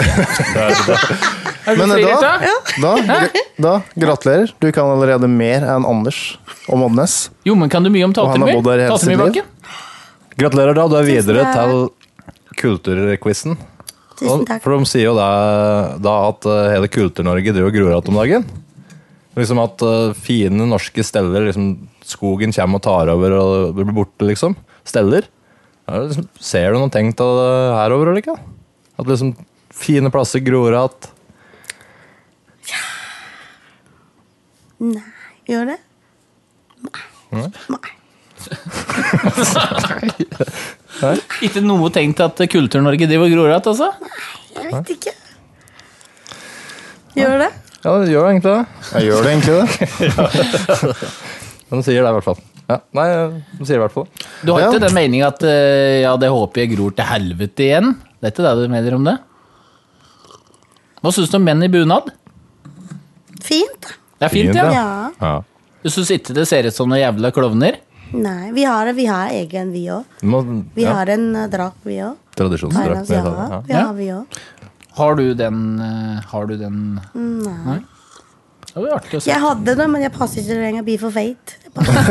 [LAUGHS]
Er du
Men eh,
frigitt,
da-
da?
Da, gr- da, gratulerer. Du kan allerede mer enn Anders om Oddnes.
Jo, men kan du mye om
Og han har
Tatermyr?
bodd der i hele sitt liv.
Tatermyrbakken?
Gratulerer, da. Du er videre
Tusen
til kulturquizen.
Tusen takk.
For de sier jo det, da at eh, hele Kultur-Norge driver og gruer at om dagen. Liksom at eh, fine norske steller liksom, Skogen kommer og tar over og blir borte, liksom. Steller. Ja, liksom, ser du noen tegn til det her over, eller ikke? At liksom fine plasser gror igjen.
Nei. Gjør det? Nei. Nei.
Ikke noe tegn til at eh, Kultur-Norge driver og gror igjen, altså?
Jeg vet ikke. Gjør det?
Ja, det gjør egentlig det.
Ja, gjør du egentlig det?
[LAUGHS] Men de sier det, i hvert fall. Ja, nei, de sier det i hvert fall.
Du har
Ja.
ikke den meninga at eh, ja, det håper jeg gror til helvete igjen? Det er ikke det du mener om det? Hva syns du om menn i bunad?
Fint.
Det er fint,
Fint,
ja.
Ja.
Ja.
Du syns ikke det ser ut som noen jævla klovner?
Nei. Vi har, vi har egen, vi òg.
Du må,
Vi
ja,
har en eh, drakt, vi òg.
Tradisjonsdrakt.
Thailands,
med sånn.
ja.
det, ja.
Vi har vi òg.
Har du den eh, Har du den
Nei.
Nei? Det var jo artig å se.
Jeg hadde det, men jeg passer ikke lenger Be for fate. Jeg passer-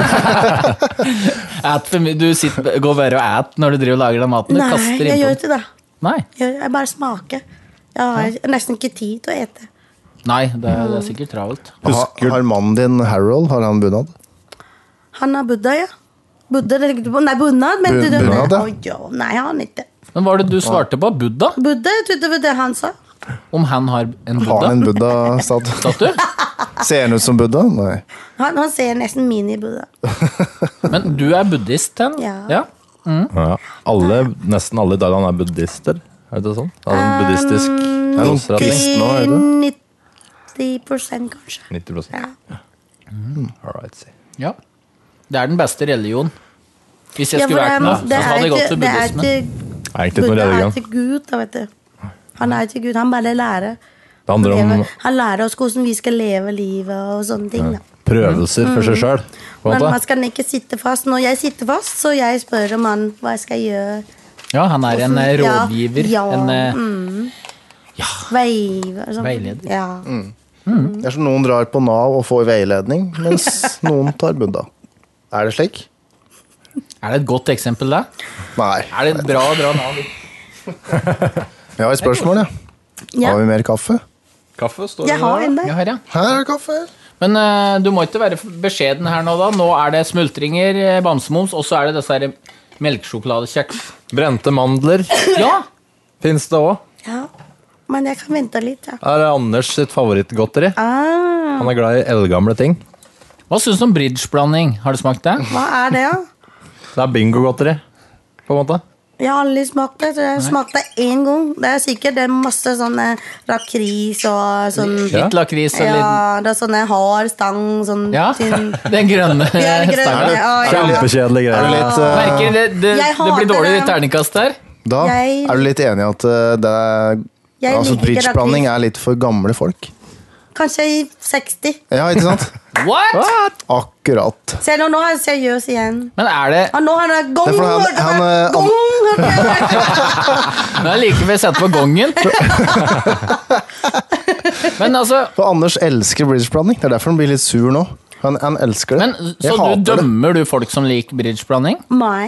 Ät for mye. Du sitter, går bare og æt når du driver og lager den maten. Du
Nei,
kaster
jeg gjør
innpå.
ikke det.
Nei.
Jeg, jeg bare smaker. Jeg har nesten ikke tid til å ete.
Nei, det er, det er sikkert travelt.
Husker-
Har, har mannen din Harold, har han bunad?
Han har buddha, ja. Buddha, det tenkte du på. Nei, bunad, mente du?
Bunad, ja.
Å, ja. Nei, han ikke.
Men hva var det du svarte på? Buddha?
Buddha, jeg trodde det var det han sa.
Om han har en
Har han en
buddha?
buddha-statue?
Statue?
Ser han ut som Buddha? Nei.
Han, han ser nesten mini-buddha.
Men du er buddhist, Ten?
Ja.
Ja. Alle, nesten alle i Thailand er buddhister. Er det sånn? Det er sånn
Um,
buddhistisk det er sånn
Krist-
rett-
Nå er
90 kanskje.
90
Ja.
Mm, All right, see.
Ja. Det er den beste religion. Hvis jeg
Ja, for
skulle vært
um,
noe,
det er
så hadde jeg gått
ikke,
til
det er
buddhismen.
ikke
Det er egentlig ikke
Buddha
noe
er
religion.
ikke Gud, da, vet du. Han er ikke Gud, han bare lærer.
Det handler om
Leve- Han lærer oss hvordan vi skal leve livet og sånne ting. da.
prøvelser for seg sjøl.
Mm. Men man skal ikke sitte fast. Når jeg sitter fast, så jeg spør om han hva jeg skal gjøre.
Ja, han er en eh,
Ja,
rådgiver.
ja,
En, eh,
Veive og sånn.
Veileder.
Ja.
Mm.
Det er som noen drar på Nav og får veiledning,
[LAUGHS]
mens noen tar Buddha. Er det slik?
er det et godt eksempel, det?
Nei.
Er det bra å dra Nav?
Vi har et spørsmål, ja.
Ja.
Har vi mer kaffe?
Kaffe står
Jeg har en der.
Ja, her, ja.
Her er det kaffe.
Men eh, du må ikke være beskjeden her nå, da. Nå er det smultringer, eh, bamsemums, og så er det disse her melkesjokoladekjeks.
Brente mandler
Ja!
fins det òg.
Ja. Men jeg kan vente litt, ja.
Er Anders sitt favorittgodteri.
Ah,
Han er glad i eldgamle ting.
Hva syns du om bridgeblanding? Har du smakt det?
hva er det, da?
Det er bingogodteri, på en måte.
Jeg har aldri smakt det. så Jeg smakte én gang. Det er sikkert det er masse sånne lakris og sånn
Mm.
Ja.
Litt lakris og litt
Ja, det er sånne hard stang sånn
Ja,
tynn
[LAUGHS] den
[LAUGHS]
grønne
Ja, den grønne,
stanga.
ja, ja.
Kjempekjedelige
Er du
greier.
litt, eh,
Merker det, det,
Jeg
det
hater
blir dårlig
det.
terningkast her.
da
Jeg-
er du litt enig i at eh, det er
Jeg liker
Altså,
ikke
Bridgeblanding
lakris.
er litt for gamle folk.
Kanskje i 60.
Ja, ikke
[LAUGHS]
sant?
What?!
Akkurat.
Se nå, nå er han seriøs igjen.
Men er
[LAUGHS]
det
Og nå har han gong!
Det er fordi han-
hørte
han,
meg.
eh,
Gong, hørte jeg.
[LAUGHS]
Men jeg liker vi setter på gongen. Men altså
For Anders elsker bridgeblanding. Det er derfor han blir litt sur nå. Han, han elsker det.
men, Så
Jeg
du
hater det.
dømmer du folk som liker bridgeblanding?
Nei.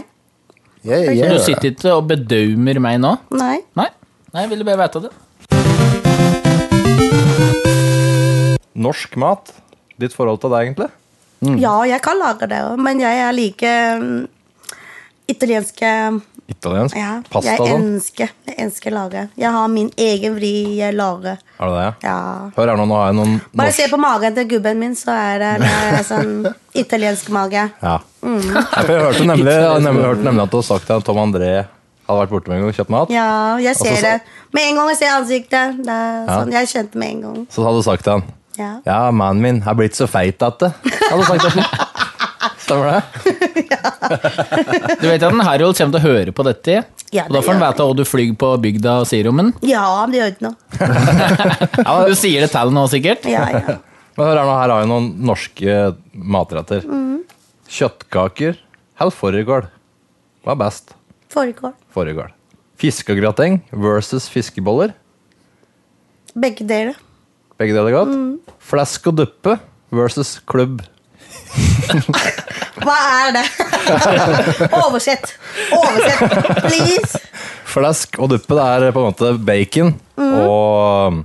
Jeg, jeg,
Så
gjør
du
det.
sitter ikke og bedømmer meg nå?
Nei.
Nei, Nei jeg ville bare vite det.
Norsk mat. Ditt forhold til det, egentlig?
Mm.
Ja, jeg kan lage det òg, men jeg er like mm, italienske
Italiensk?
ja,
Pasta
jeg
og sånn?
ønsker, jeg ønsker lage. Jeg har min egen vri jeg lager.
Er det det? ja?
Ja.
Hør her nå, nå har jeg noen
Bare
norsk
se på magen til gubben min, så er det, det
[LAUGHS]
er sånn italiensk mage.
Ja.
Mm.
Ja, for jeg hørte nemlig, jeg har nemlig, hørte nemlig at du har sagt at Tom André hadde vært borte med en gang og kjøpt mat.
Ja, jeg ser
Altså, så-
det. Med en gang jeg ser ansiktet. Det er
Ja.
sånn, jeg kjente med en gang.
Så hadde du sagt til han
Ja.
Ja, mannen min er blitt så feit at det Hadde du sagt
[LAUGHS]
til han. Stemmer det?
Du vet at en Harold kommer til å høre på dette?
Ja,
og da får han
det gjør
vite hva du flyr på bygda og sier om den.
ja, men det gjør ikke noe.
Du sier det til han nå, sikkert?
Ja, ja.
[LAUGHS] Men hør her nå, her har jeg noen norske matretter.
Mm.
Kjøttkaker eller fårikål? Hva er best?
Fårikål.
Fårikål. Fiskegrateng versus fiskeboller.
Begge deler.
Begge deler godt.
Mm.
Flesk og duppe versus klubb.
Hva er det? [LAUGHS] Oversett. Oversett, please.
Flesk og duppe det er på en måte bacon
Mm.
og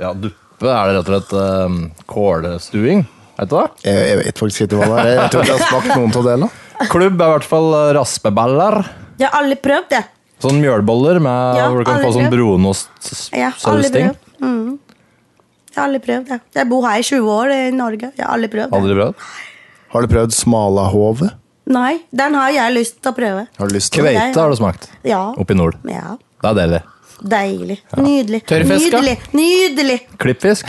ja, duppe er det rett og slett um, kålstuing. Vet du hva?
Jeg, jeg vet faktisk ikke hva det er. Jeg tror ikke jeg har smakt noen av delene.
Klubb er i hvert fall eh, raspeballer.
Jeg har aldri prøvd det.
Sånn mjølboller med,
Ja,
hvor du kan få
aldri
sånn
prøvd. Jeg har aldri
brunostssausting.
prøvd. Mm. Jeg har aldri prøvd det. Jeg bor her i 20 år i Norge. Jeg har aldri prøvd det.
Aldri prøvd?
Har du prøvd smalahove?
Nei, den har jeg lyst til å prøve.
Har du lyst til det?
jeg,
Kveite
ja.
har du smakt.
Ja.
Oppe i nord.
ja.
Det er deilig.
Deilig. Nydelig.
Tørrfisk, ja.
Nydelig. Nydelig.
Klippfisk.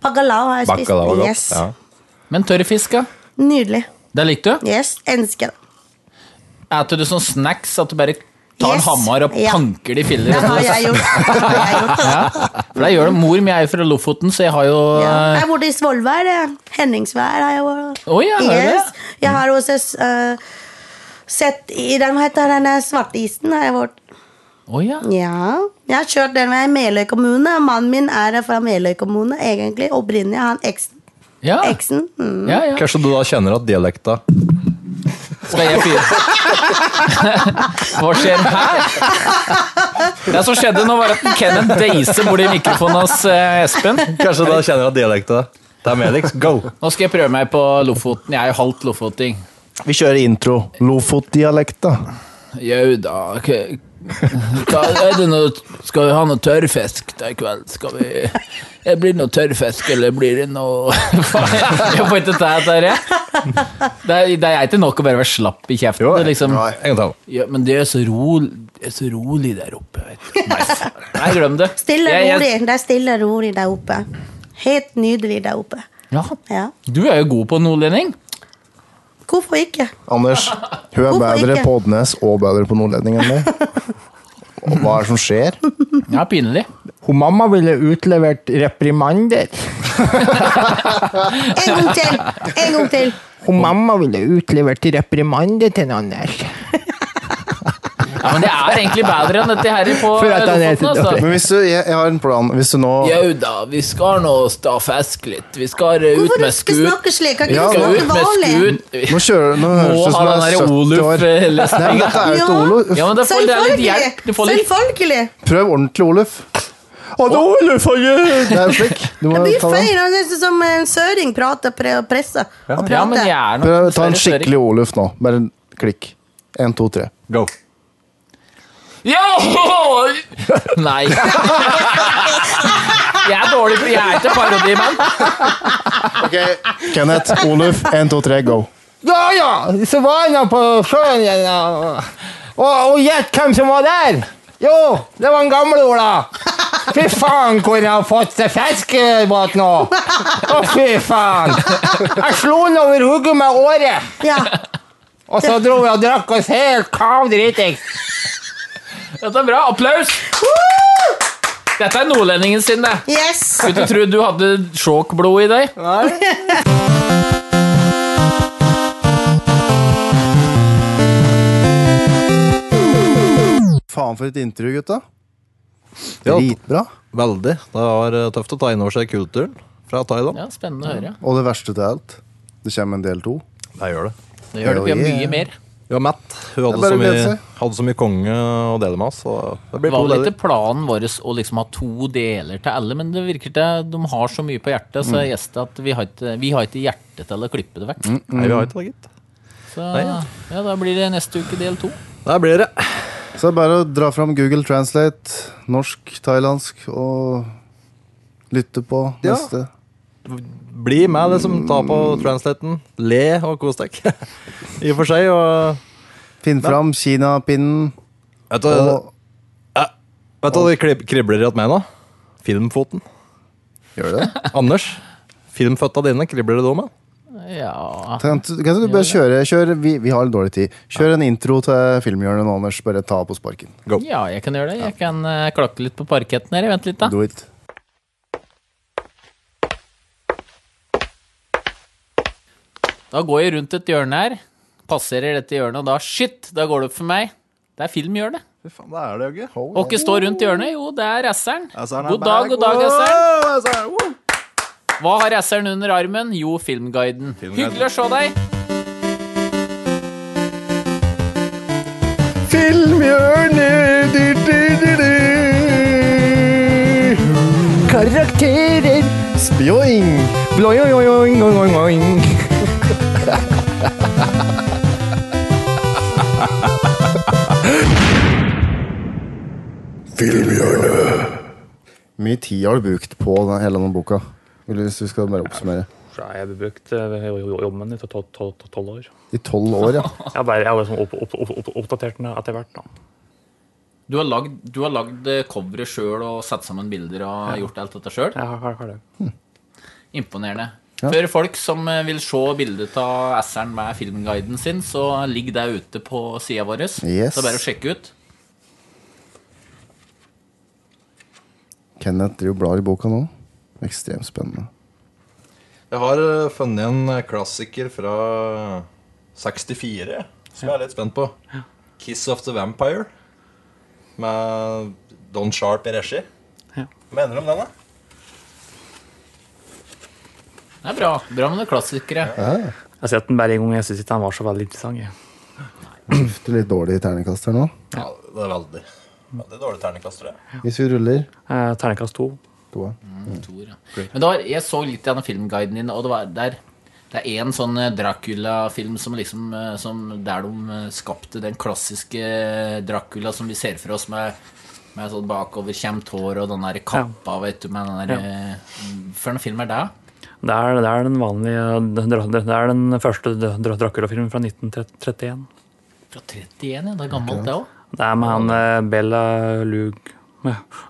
Bacalao har jeg spist.
Bacalao er
Yes.
godt. Ja.
Men tørrfisk, ja.
Nydelig.
Det likte du?
Yes, ønsker det.
Eter du sånn snacks at du bare tar
Yes.
en hammer og
Ja.
panker de filler?
Det har
[LAUGHS]
jeg gjort. Det har jeg gjort.
For det gjør det. Mor mi er jo fra Lofoten, så jeg har jo
Ja.
eh,
Jeg bodde i Svolvær. jeg. Henningsvær har jeg vært.
Å ja, er det?
yes. Jeg har også eh, sett i den, hva heter den eh, svartisen har jeg vært.
Å ja.
Ja. Jeg har kjørt den veien i Meløy kommune. Mannen min er fra Meløy kommune, egentlig. Opprinnelig han eksen.
Ja.
Eksen. Mm.
Ah. Ja, ja.
Kanskje du da kjenner at dialekta
Skal jeg fyre Hva skjer her? Det som skjedde nå, var at Kenneth deise borti mikrofonen hos eh, Espen.
Kanskje du da kjenner at dialekta Det er Melix, go!
Nå skal jeg prøve meg på Lofoten. Jeg er jo halvt lofoting.
Vi kjører intro. Lofotdialekta.
Jau da. ok. Hva er det nå? Skal vi ha noe tørrfisk da i kveld? Skal vi Eh, Blir det noe tørrfisk, eller blir det noe [LAUGHS] Faen, Jeg får ikke ta dette her, jeg. Det er, det er ikke nok å bare være slapp i kjeften. det er liksom.
Nei, en gang til.
Ja, men det er så rolig, det er så rolig der oppe. Vet du. Nei, faen. Nei, glem det.
Stille og
Jeg-
rolig.
jeg-
Det er stille og rolig der oppe. Helt nydelig der oppe.
Ja.
Ja.
Du er jo god på nordlending.
Hvorfor ikke?
Anders, hun er
Hvorfor
bedre
ikke?
på Oddnes og bedre på Nordlending enn deg. Og hva er det som
[LAUGHS]
skjer?
Ja, pinlig.
Hun mamma ville utlevert reprimander.
En gang til! En gang
[LAUGHS]
til!
Hun mamma ville utlevert reprimander til Anders.
Ja, men det er egentlig bedre enn dette her på
For at han er
Lofoten, altså.
Men hvis du, jeg, jeg har en plan. Hvis du nå
Jau da, vi skal nå sta fisk litt. Vi skal eh, ut
Hvorfor
med
du skal
skut.
snakke slik? Kan ikke
Ja,
du
Skal ut
snakke
med
vanlig?
skut.
Nå kjører du Nå høres
Må
du
ha den der
som du er 70 år. Nei, men
Oluf-lesninga.
dette er jo
Ja.
ikke Oluf.
Ja, men da får du litt hjelp. Du får
Selvfølgelig!
litt
Selvfølgelig!
Prøv ordentlig Oluf. Å, det er Oluf, og jeg- Det er jo slik. Du må
Det blir
ta den.
feil. Det er sånn som en søring prater pre og presser. Og
Ja, men jeg
prater.
er nok
Prøv å ta en
dessverre
skikkelig Oluf nå. Bare en klikk. En, to, tre.
Go.
Jo! Nei. Jeg er dårlig, for jeg er ikke parodimann.
Kenneth, Oluf, en, to, tre, go.
Ja, ja, så var han da på sjøen igjen. ja. Og, og gjett hvem som var der? Jo, det var en gamle Ola. Fy faen, hvor jeg har fått seg fiskebåt nå. Å, fy faen. Jeg slo den over hodet med året,
Ja.
og så dro vi og drakk oss helt kavdritings.
Dette er bra. Applaus! Dette er nordlendingen sin, det.
Yes!
Skulle ikke tro du hadde sjåkblod i deg.
Faen for et intervju, gutta.
Ja,
Dritbra.
veldig. Det var eh, tøft å ta inn over seg kulturen fra Thailand.
Ja, Spennende å høre.
Og det verste til alt, det kommer en del to.
Det gjør det.
Det gjør det ikke
Ja, ja.
mye mer.
Vi var mett. Hun
Det er
hadde
bare
så,
å glede
mye,
seg.
hadde så mye konge å dele med oss. Så det
Det
blir to
var vel
deler.
ikke planen vår å liksom ha to deler til alle, men det virker til de har så mye på hjertet, så gjester at vi har ikke, vi har ikke hjerte til å klippe det vekk.
Nei, vi har ikke det, gitt.
Så Mm. ja, da blir det neste uke del to.
Der blir det.
Så det er bare å dra fram Google Translate, norsk, thailandsk, og lytte på
Ja.
neste.
Bli med, liksom. Ta på translaten. Le og kos deg. [LAUGHS] I og for seg. Og,
Finn fram Kinapinnen
vet du
og
vet du hva det krib- kribler i at meg nå? Filmfoten.
Gjør det?
Anders, filmføtta dine kribler det da med?
Ja,
Kanskje du bare kjøre, kjøre vi, vi har litt dårlig tid. Kjør en intro til filmhjørnet nå, Anders. Bare ta på sparken.
ja jeg kan gjøre det. Jeg kan eh, klakke litt på parketten her. Vent litt, da.
Do it.
Da går jeg rundt et hjørne her, passerer dette hjørnet, og da shit, da går det opp for meg. Det er filmhjørnet.
Fy faen, det er det jo ikke.
Og ikke stå rundt hjørnet, jo, det er Esseren.
Asseren er
God dag,
back.
god dag, Esseren.
Wow, Asseren, wow.
Hva har Esseren under armen? Jo, Filmguiden.
Filmguiden.
Hyggelig å se deg.
Filmhjørnet! Du, du, du, du.
Karakterer.
Spjoing!
Bloing, oing, oing, oing, oing.
Mye tid har du brukt på den, hele denne boka. Eller Hvis du skal bare oppsummere.
Nei, jeg har brukt eh, jo- jo- jobben min i tolv tol, tol, tolv år.
I tolv år, ja.
Jeg har bare jeg har liksom opp, opp, opp, opp, oppdatert den etter hvert. da.
Du har lagd, du har lagd eh, coveret sjøl og satt sammen bilder og gjort alt dette sjøl.
Jeg har, har, har det.
Imponerende. For folk som eh, vil se bildet av Esseren med filmguiden sin, så ligger det ute på sida vår.
Yes.
Så bare å sjekke ut.
Kenneth driver og blar i boka nå. Ekstremt spennende.
Jeg har eh, funnet en klassiker fra 64 som jeg er litt spent på. 'Kiss of the Vampire' med Don Sharp i regi. Hva mener du om den, da?
Det er bra. Bra med noen klassikere.
Jeg har sett den bare en gang, jeg syns ikke den var så veldig interessant. Jeg.
Uff, det er litt dårlig terningkast her nå.
Ja, det er veldig. Veldig dårlig terningkast, tror jeg.
Hvis vi ruller
Eh, Terningkast to.
to, ja.
Thor, ja. Men det var, jeg så litt gjennom filmguiden din, og det, var, der, det er en sånn eh, Dracula-film som liksom, eh, som der de eh, skapte den klassiske eh, Dracula som vi ser for oss med, med sånn bakoverkjemt hår og den der kappa, vet du, med den der eh, For en film er det?
Det er, det er den vanlige dra- Det er den første dra- dra- Dracula-filmen fra 1931.
Fra 31, ja. Det er gammelt, det òg.
Det er med han eh, Bella Lug...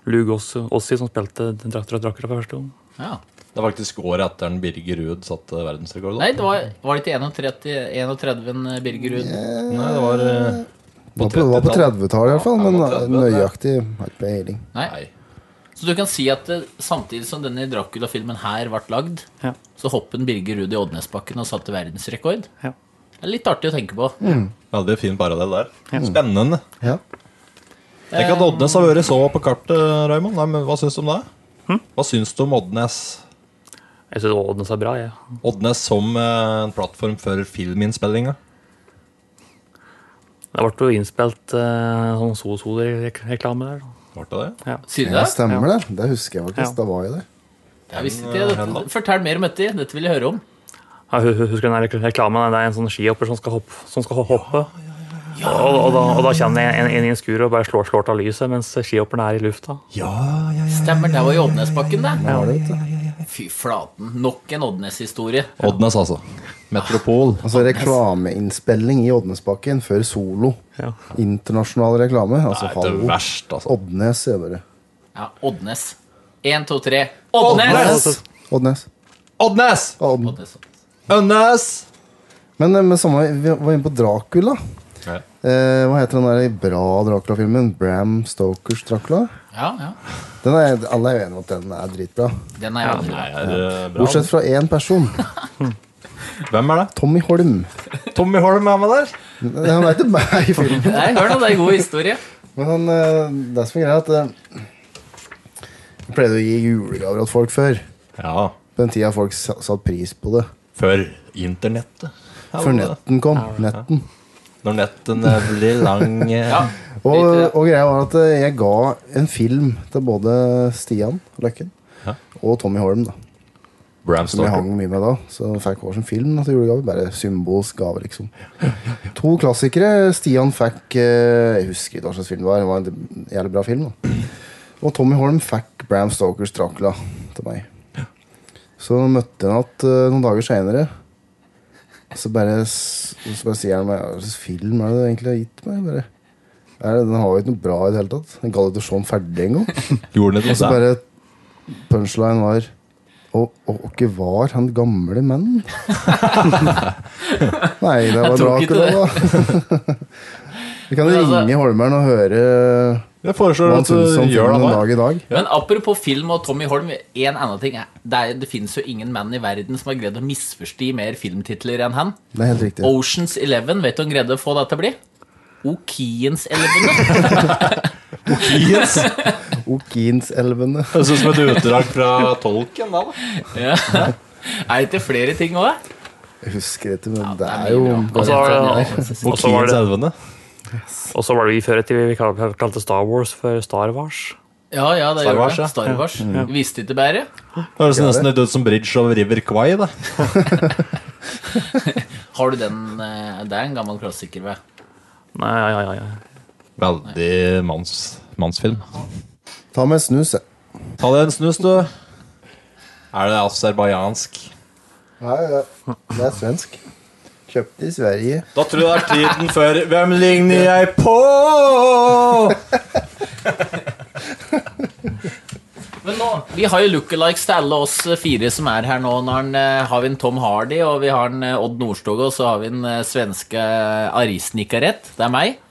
Lug Ossi som spilte Dra- Dra- Dracula for første gang.
Ja.
Det er faktisk året etter den Birger Ruud satte verdensrekord. da.
Nei, det var, var det ikke 31, 31 eh, Birger Ruud?
Nei, det var eh,
Det var på- det var på 30-tallet i hvert fall, men
Ja, det var 30-tallet, ja.
nøyaktig har ikke peiling.
Nei.
Nei.
Så du kan si at eh, samtidig som denne Dracula-filmen her ble lagd,
Ja.
så hoppet Birger Ruud i Oddnesbakken og satte verdensrekord.
Ja.
Det er litt artig å tenke på.
Mm.
Veldig fin parallell der. Spennende.
Ja.
Tenk at Oddnes har vært så på kartet, Raymond. Nei, men hva syns du om det? Hva syns du om Oddnes?
Jeg syns Odnes er bra, jeg.
Oddnes som eh, en plattform for filminnspillinga.
Det ble jo innspilt eh, sånn Soso-reklame der. da.
Ble det det?
Sier du
Ja,
det?
stemmer det. Det husker jeg faktisk.
Ja.
Da var jeg der.
Jeg visste ikke det.
Hella.
Dette- Fortell mer om dette. Dette vil jeg høre om.
Ja, hu- hu- Husker du den der rekl- reklamen? Det er en sånn skihopper som skal hoppe. Som skal ho- hoppe. Og, og, da, og da kommer det en, en, en skur og bare slår, slår av lyset mens skihopperen er i lufta.
Ja, ja, ja.
Stemmer, det var i Oddnesbakken, det.
Var det, vet du.
Fy flaten. Nok en Oddnes-historie.
Oddnes, altså. Metropol.
Altså reklameinnspilling i Oddnesbakken før Solo.
Ja.
Internasjonal reklame. Altså
Nei, det er
hallo.
verst, altså.
Oddnes, sier jeg bare.
Ja, Oddnes. Én, to, tre. Oddnes!
Oddnes!
Oddnes.
Oddnes!
Odd-
Oddnes.
Oddnes!
Men eh, med samme, vi var inne på Dracula.
Ja.
Eh, hva heter den der bra Dracula-filmen? Bram Stokers Dracula?
Ja, ja.
Den er, alle er jo enige om at den er dritbra.
Den er jeg aldri.
Er det bra?
Bortsett fra én person.
Hvem er det?
Tommy Holm.
Tommy Holm er med der.
Han er ikke med i filmen.
Nei, hør nå, det er en god historie.
Men han, eh, det som er greia, er at eh, Jeg pleide å gi julegaver til folk før.
Ja.
På den tida folk sa- satte pris på det.
Før internettet.
Før netten kom. Netten.
Når nettene blir lang eh,
Ja.
Og,
Litt,
og greia var at eh, jeg ga en film til både Stian Løkken
Ja.
og Tommy Holm, da.
Bram
Som jeg
Stoker.
hang mye med da. Så fikk hver sin film da, til julegave. Bare symbolsk gave, liksom. To klassikere. Stian fikk eh, Jeg husker ikke hva slags film det var. Det var en jævlig bra film. da Og Tommy Holm fikk Bram Stokers Dracula til meg. Så møtte han at eh, noen dager seinere. Så bare, s- så bare sier han meg Hva slags film er det du egentlig har gitt meg? Bare, er det, den har jo ikke noe bra i det hele tatt. Den ga det til å se den ferdig engang.
Gjorde han det
Og så
til deg?
bare punchline var Og og ikke var han gamle
[LAUGHS]
menn? Nei, det var
Jeg tok
Dracula,
ikke
da. Vi kan
Men altså-
ringe Holmern og høre
Jeg
hva
foreslår
han
at du
syns om
gjør
filmen
det
en
nå.
dag i dag.
Men apropos film og Tommy Holm, en annen ting er, det, er, det finnes jo ingen mann i verden som har greid å misforstå mer filmtitler enn han.
Det er helt riktig.
Oceans Eleven, vet du hva han greide å få det til å bli? Okiens
[LAUGHS]
Eleven.
Yes.
Okinselvene.
Det ser ut som et utdrag fra [LAUGHS] tolken. da, da.
ja. Er det ikke flere ting òg?
Jeg husker ikke, men det
det er
er jo
mye bra.
Og så var det, og så var
Kiens
det,
elvene.
og så var det vi før i tiden vi kalte vi kalte Star Wars for Star Wars.
Ja, ja, det
Star
gjør
Wars,
det.
ja.
Star Wars. Visste ikke bedre.
Det høres nesten litt ut som Bridge over River Kwai. da.
Har du den eh, Det er en gammel klassiker, vel.
Nei, ja, ja, ja, ja.
Veldig manns, mannsfilm.
Ta med en snus, jeg.
Ta deg en snus, du. Er det aserbajdsjansk?
Nei, det det er svensk. Kjøpt i Sverige.
Da tror jeg det er tiden før Hvem ligner jeg på?
Men nå, Vi har jo lookalikes til alle oss fire som er her nå. Når han, eh, har vi en Tom Hardy, og vi har en eh, Odd Nordstoga, og så har vi en eh, svenske Arisnikaret. Det er meg.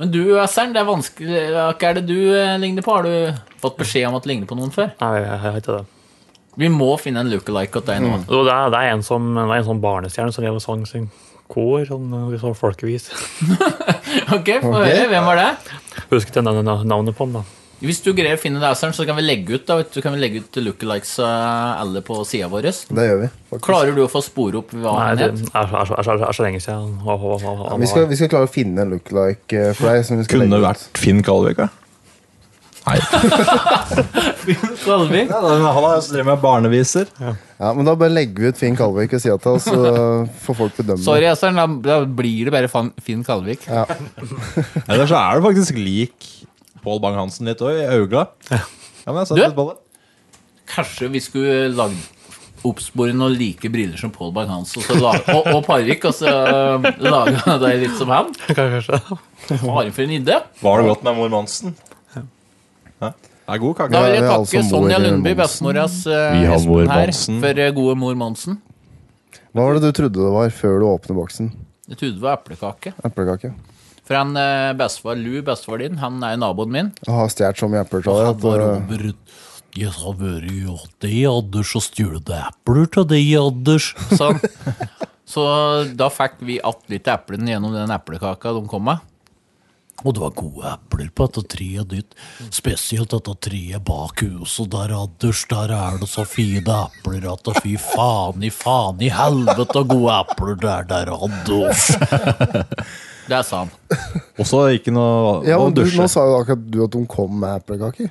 Men du, Øsern, det er vanskelig Hva er det du eh, ligner på? Har du fått beskjed om at du ligner på noen før?
Nei, jeg, jeg, jeg heter det.
Vi må finne en lookalike åt deg nå.
Jo, Det er, det er en som det er en sånn barnestjerne som lever sang sin kor, sånn, sånn folkevis. Mm.
[LAUGHS] Ok, få høre. Hvem var det?
Husker ikke na- na- navnet på den, da.
Hvis du greier å finne Dauseren, så kan vi legge ut da, vet du, kan vi legge ut lookalikes eh, alle på sida vår.
Det gjør vi. faktisk.
Klarer du å få spore opp hva
Nei,
han
det er
het?
så- er så- er så er så lenge siden. han- han- han- han- han-
Vi skal, vi skal klare å finne en lookalike eh, for deg. Som vi skal
Kunne
legge ut.
vært Finn Kalvik, ja.
[LAUGHS] Kalvik?
[LAUGHS] Ja, han har jo drevet med barneviser.
Ja, men Da bare legger vi ut Finn Kalvik ved sida av oss,
[LAUGHS]
så får folk bedømme.
Sorry, Øystein. Da, da blir det bare fan- Finn Kalvik.
Eller så er det faktisk lik Pål Bang-Hansen litt òg, i øynene. Ja, men jeg satt
Du?
litt på det.
Kanskje vi skulle lagd oppspore noen like briller som Pål Bang-Hansen og, så la- og, og Parvik, og så eh, lage deg litt som han?
Kanskje.
Bare for en idé.
Var det godt med mor Monsen? Ja. Det er god
Da
kake.
vil jeg
det er alle som
takke
bor
Sonja
i
Lundby,
Monsen.
bestemoras
Vi har mor
Espen her,
Monsen.
for eh, gode mor Monsen.
Hva var det du trodde det var før du åpner boksen?
Jeg trodde det var eplekake.
Eplekake?
For han eh, bestefar Lu, bestefar din, han er jo naboen min.
Jeg har stjålet så mye epler av deg at, eh,
Jeg har vært hos deg, Anders, og stjålet epler av deg, Anders. Sånn. [LAUGHS] Så da fikk vi att litt epler gjennom den eplekaka de kom med. Og det var gode epler på dette treet ditt, spesielt dette treet bak huset der, Anders. Der er det så fine epler at fy faen i faen i helvete gode epler det er der, Anders. [LAUGHS] Det sa han.
Og så ikke noe
ja,
å
men du,
dusje.
Nå sa jo akkurat du at de kom med eplekaker.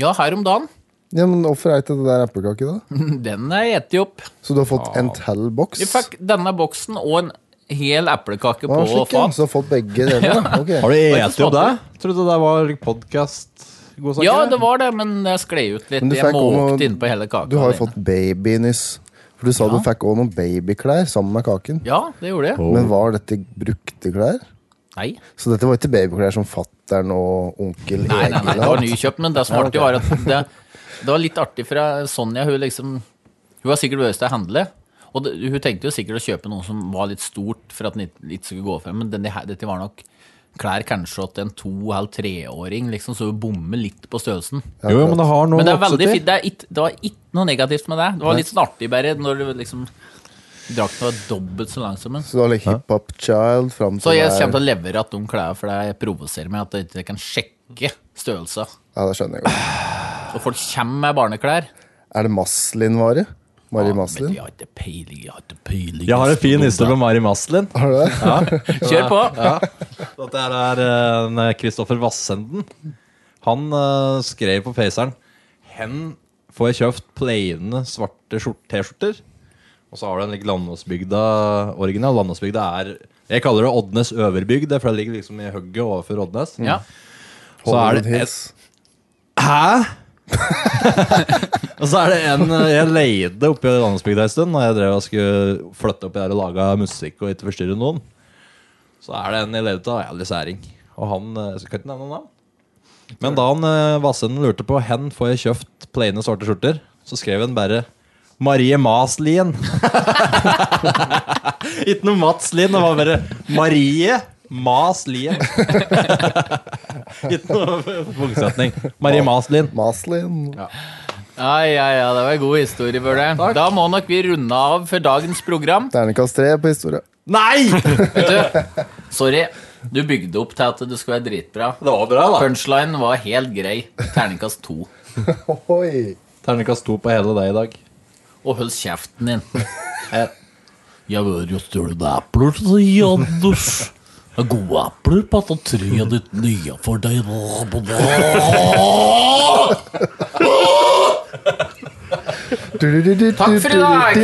Ja, her om dagen.
Ja, men Hvorfor er ikke det der eplekake, da?
Den er etig opp.
Så du har fått en til boks?
Vi Ah. fikk denne boksen og en hel eplekake
Å,
på
slik, ja.
fat.
Så du har fått begge
[LAUGHS]
deler? da. Ok.
Har du
ikke
spist opp det?
smaker.
Trodde det var podkast godsaker?
Ja, det var det, men det sklei ut litt.
Men du
Jeg
fikk også
måkte
noe-
innpå hele kaka.
Du har jo
alene.
fått babynyss. For du sa du fikk òg noen babyklær sammen med kaken.
Ja, det gjorde jeg.
Men var dette brukte klær?
Nei,
Så dette var ikke babyklær som fattern og onkel
nei, nei, nei,
Egil
det var
hadde?
nykjøpt, men det som var artig, var at det, det var litt artig fra Sonja. Hun liksom Hun har sikkert vært til å handle. Og det, hun tenkte jo sikkert å kjøpe noe som var litt stort for at den ikke ikke skulle gå frem, men denne, her- dette var nok klær kanskje til en to- eller treåring, liksom, så hun bommer litt på størrelsen.
Jo, jo, men det har noe
Men det er
vokset
veldig
i.
fint. Det, er ikke- det var ikke noe negativt med det. Det var litt sånn artig bare når du liksom Drakten var dobbelt så lang som en.
Så du har litt hiphop child fram
Så
til
jeg
der-
kommer til å levere at de klærne, for det provoserer meg at jeg ikke kan sjekke størrelser.
Ja, det skjønner jeg godt.
Og folk kommer med barneklær.
Er det Maslin-vare? Mari
Ah, Men
Maslin?
jeg har ikke peiling, jeg har ikke peiling.
Jeg har en fin liste med Mari Maslin.
Har du det?
Kjør på!
Dette her er eh, en Kristoffer Vassenden. Han eh, skrev på Faceren Hen får jeg kjøpt plaine svarte skjort- T-skjorter. Og så har du en like, Landåsbygda original. Landåsbygda er Jeg kaller det Oddnes Øverbygd, det er for det ligger liksom i hugget overfor Oddnes.
Ja.
Så er det et Hæ?! [LAUGHS] og så er det en eh, jeg leide oppe i landsbygda en stund, når jeg drev og skulle flytte oppi der og lage musikk og ikke forstyrre noen. Så er det en jeg leide av, jævlig særing. Og han eh, Jeg skal ikke nevne noen navn. Men da han eh, Vassenden lurte på hen får jeg kjøpt plaine svarte skjorter, så skrev han bare Marie Maslien. [LAUGHS] ikke noe Mats Lien, det var bare Marie Maslien. ikke noe punktsetning. Marie Maslien.
Maslin.
Ja, ja, ja, det var en god historie, Bøhle. Da må nok vi runde av for dagens program.
Ternekast tre på historie.
Nei!
Sorry, du bygde opp til at det skulle være dritbra.
Det var bra, da.
Punchline var helt grei. Terningkast to.
Oi.
Terningkast to på hele deg i dag.
Og hold kjeften din. Eh, Jeg vil jo stjele epler til deg, Anders. Gode epler på dette treet ditt nye for deg.
Takk
for i dag.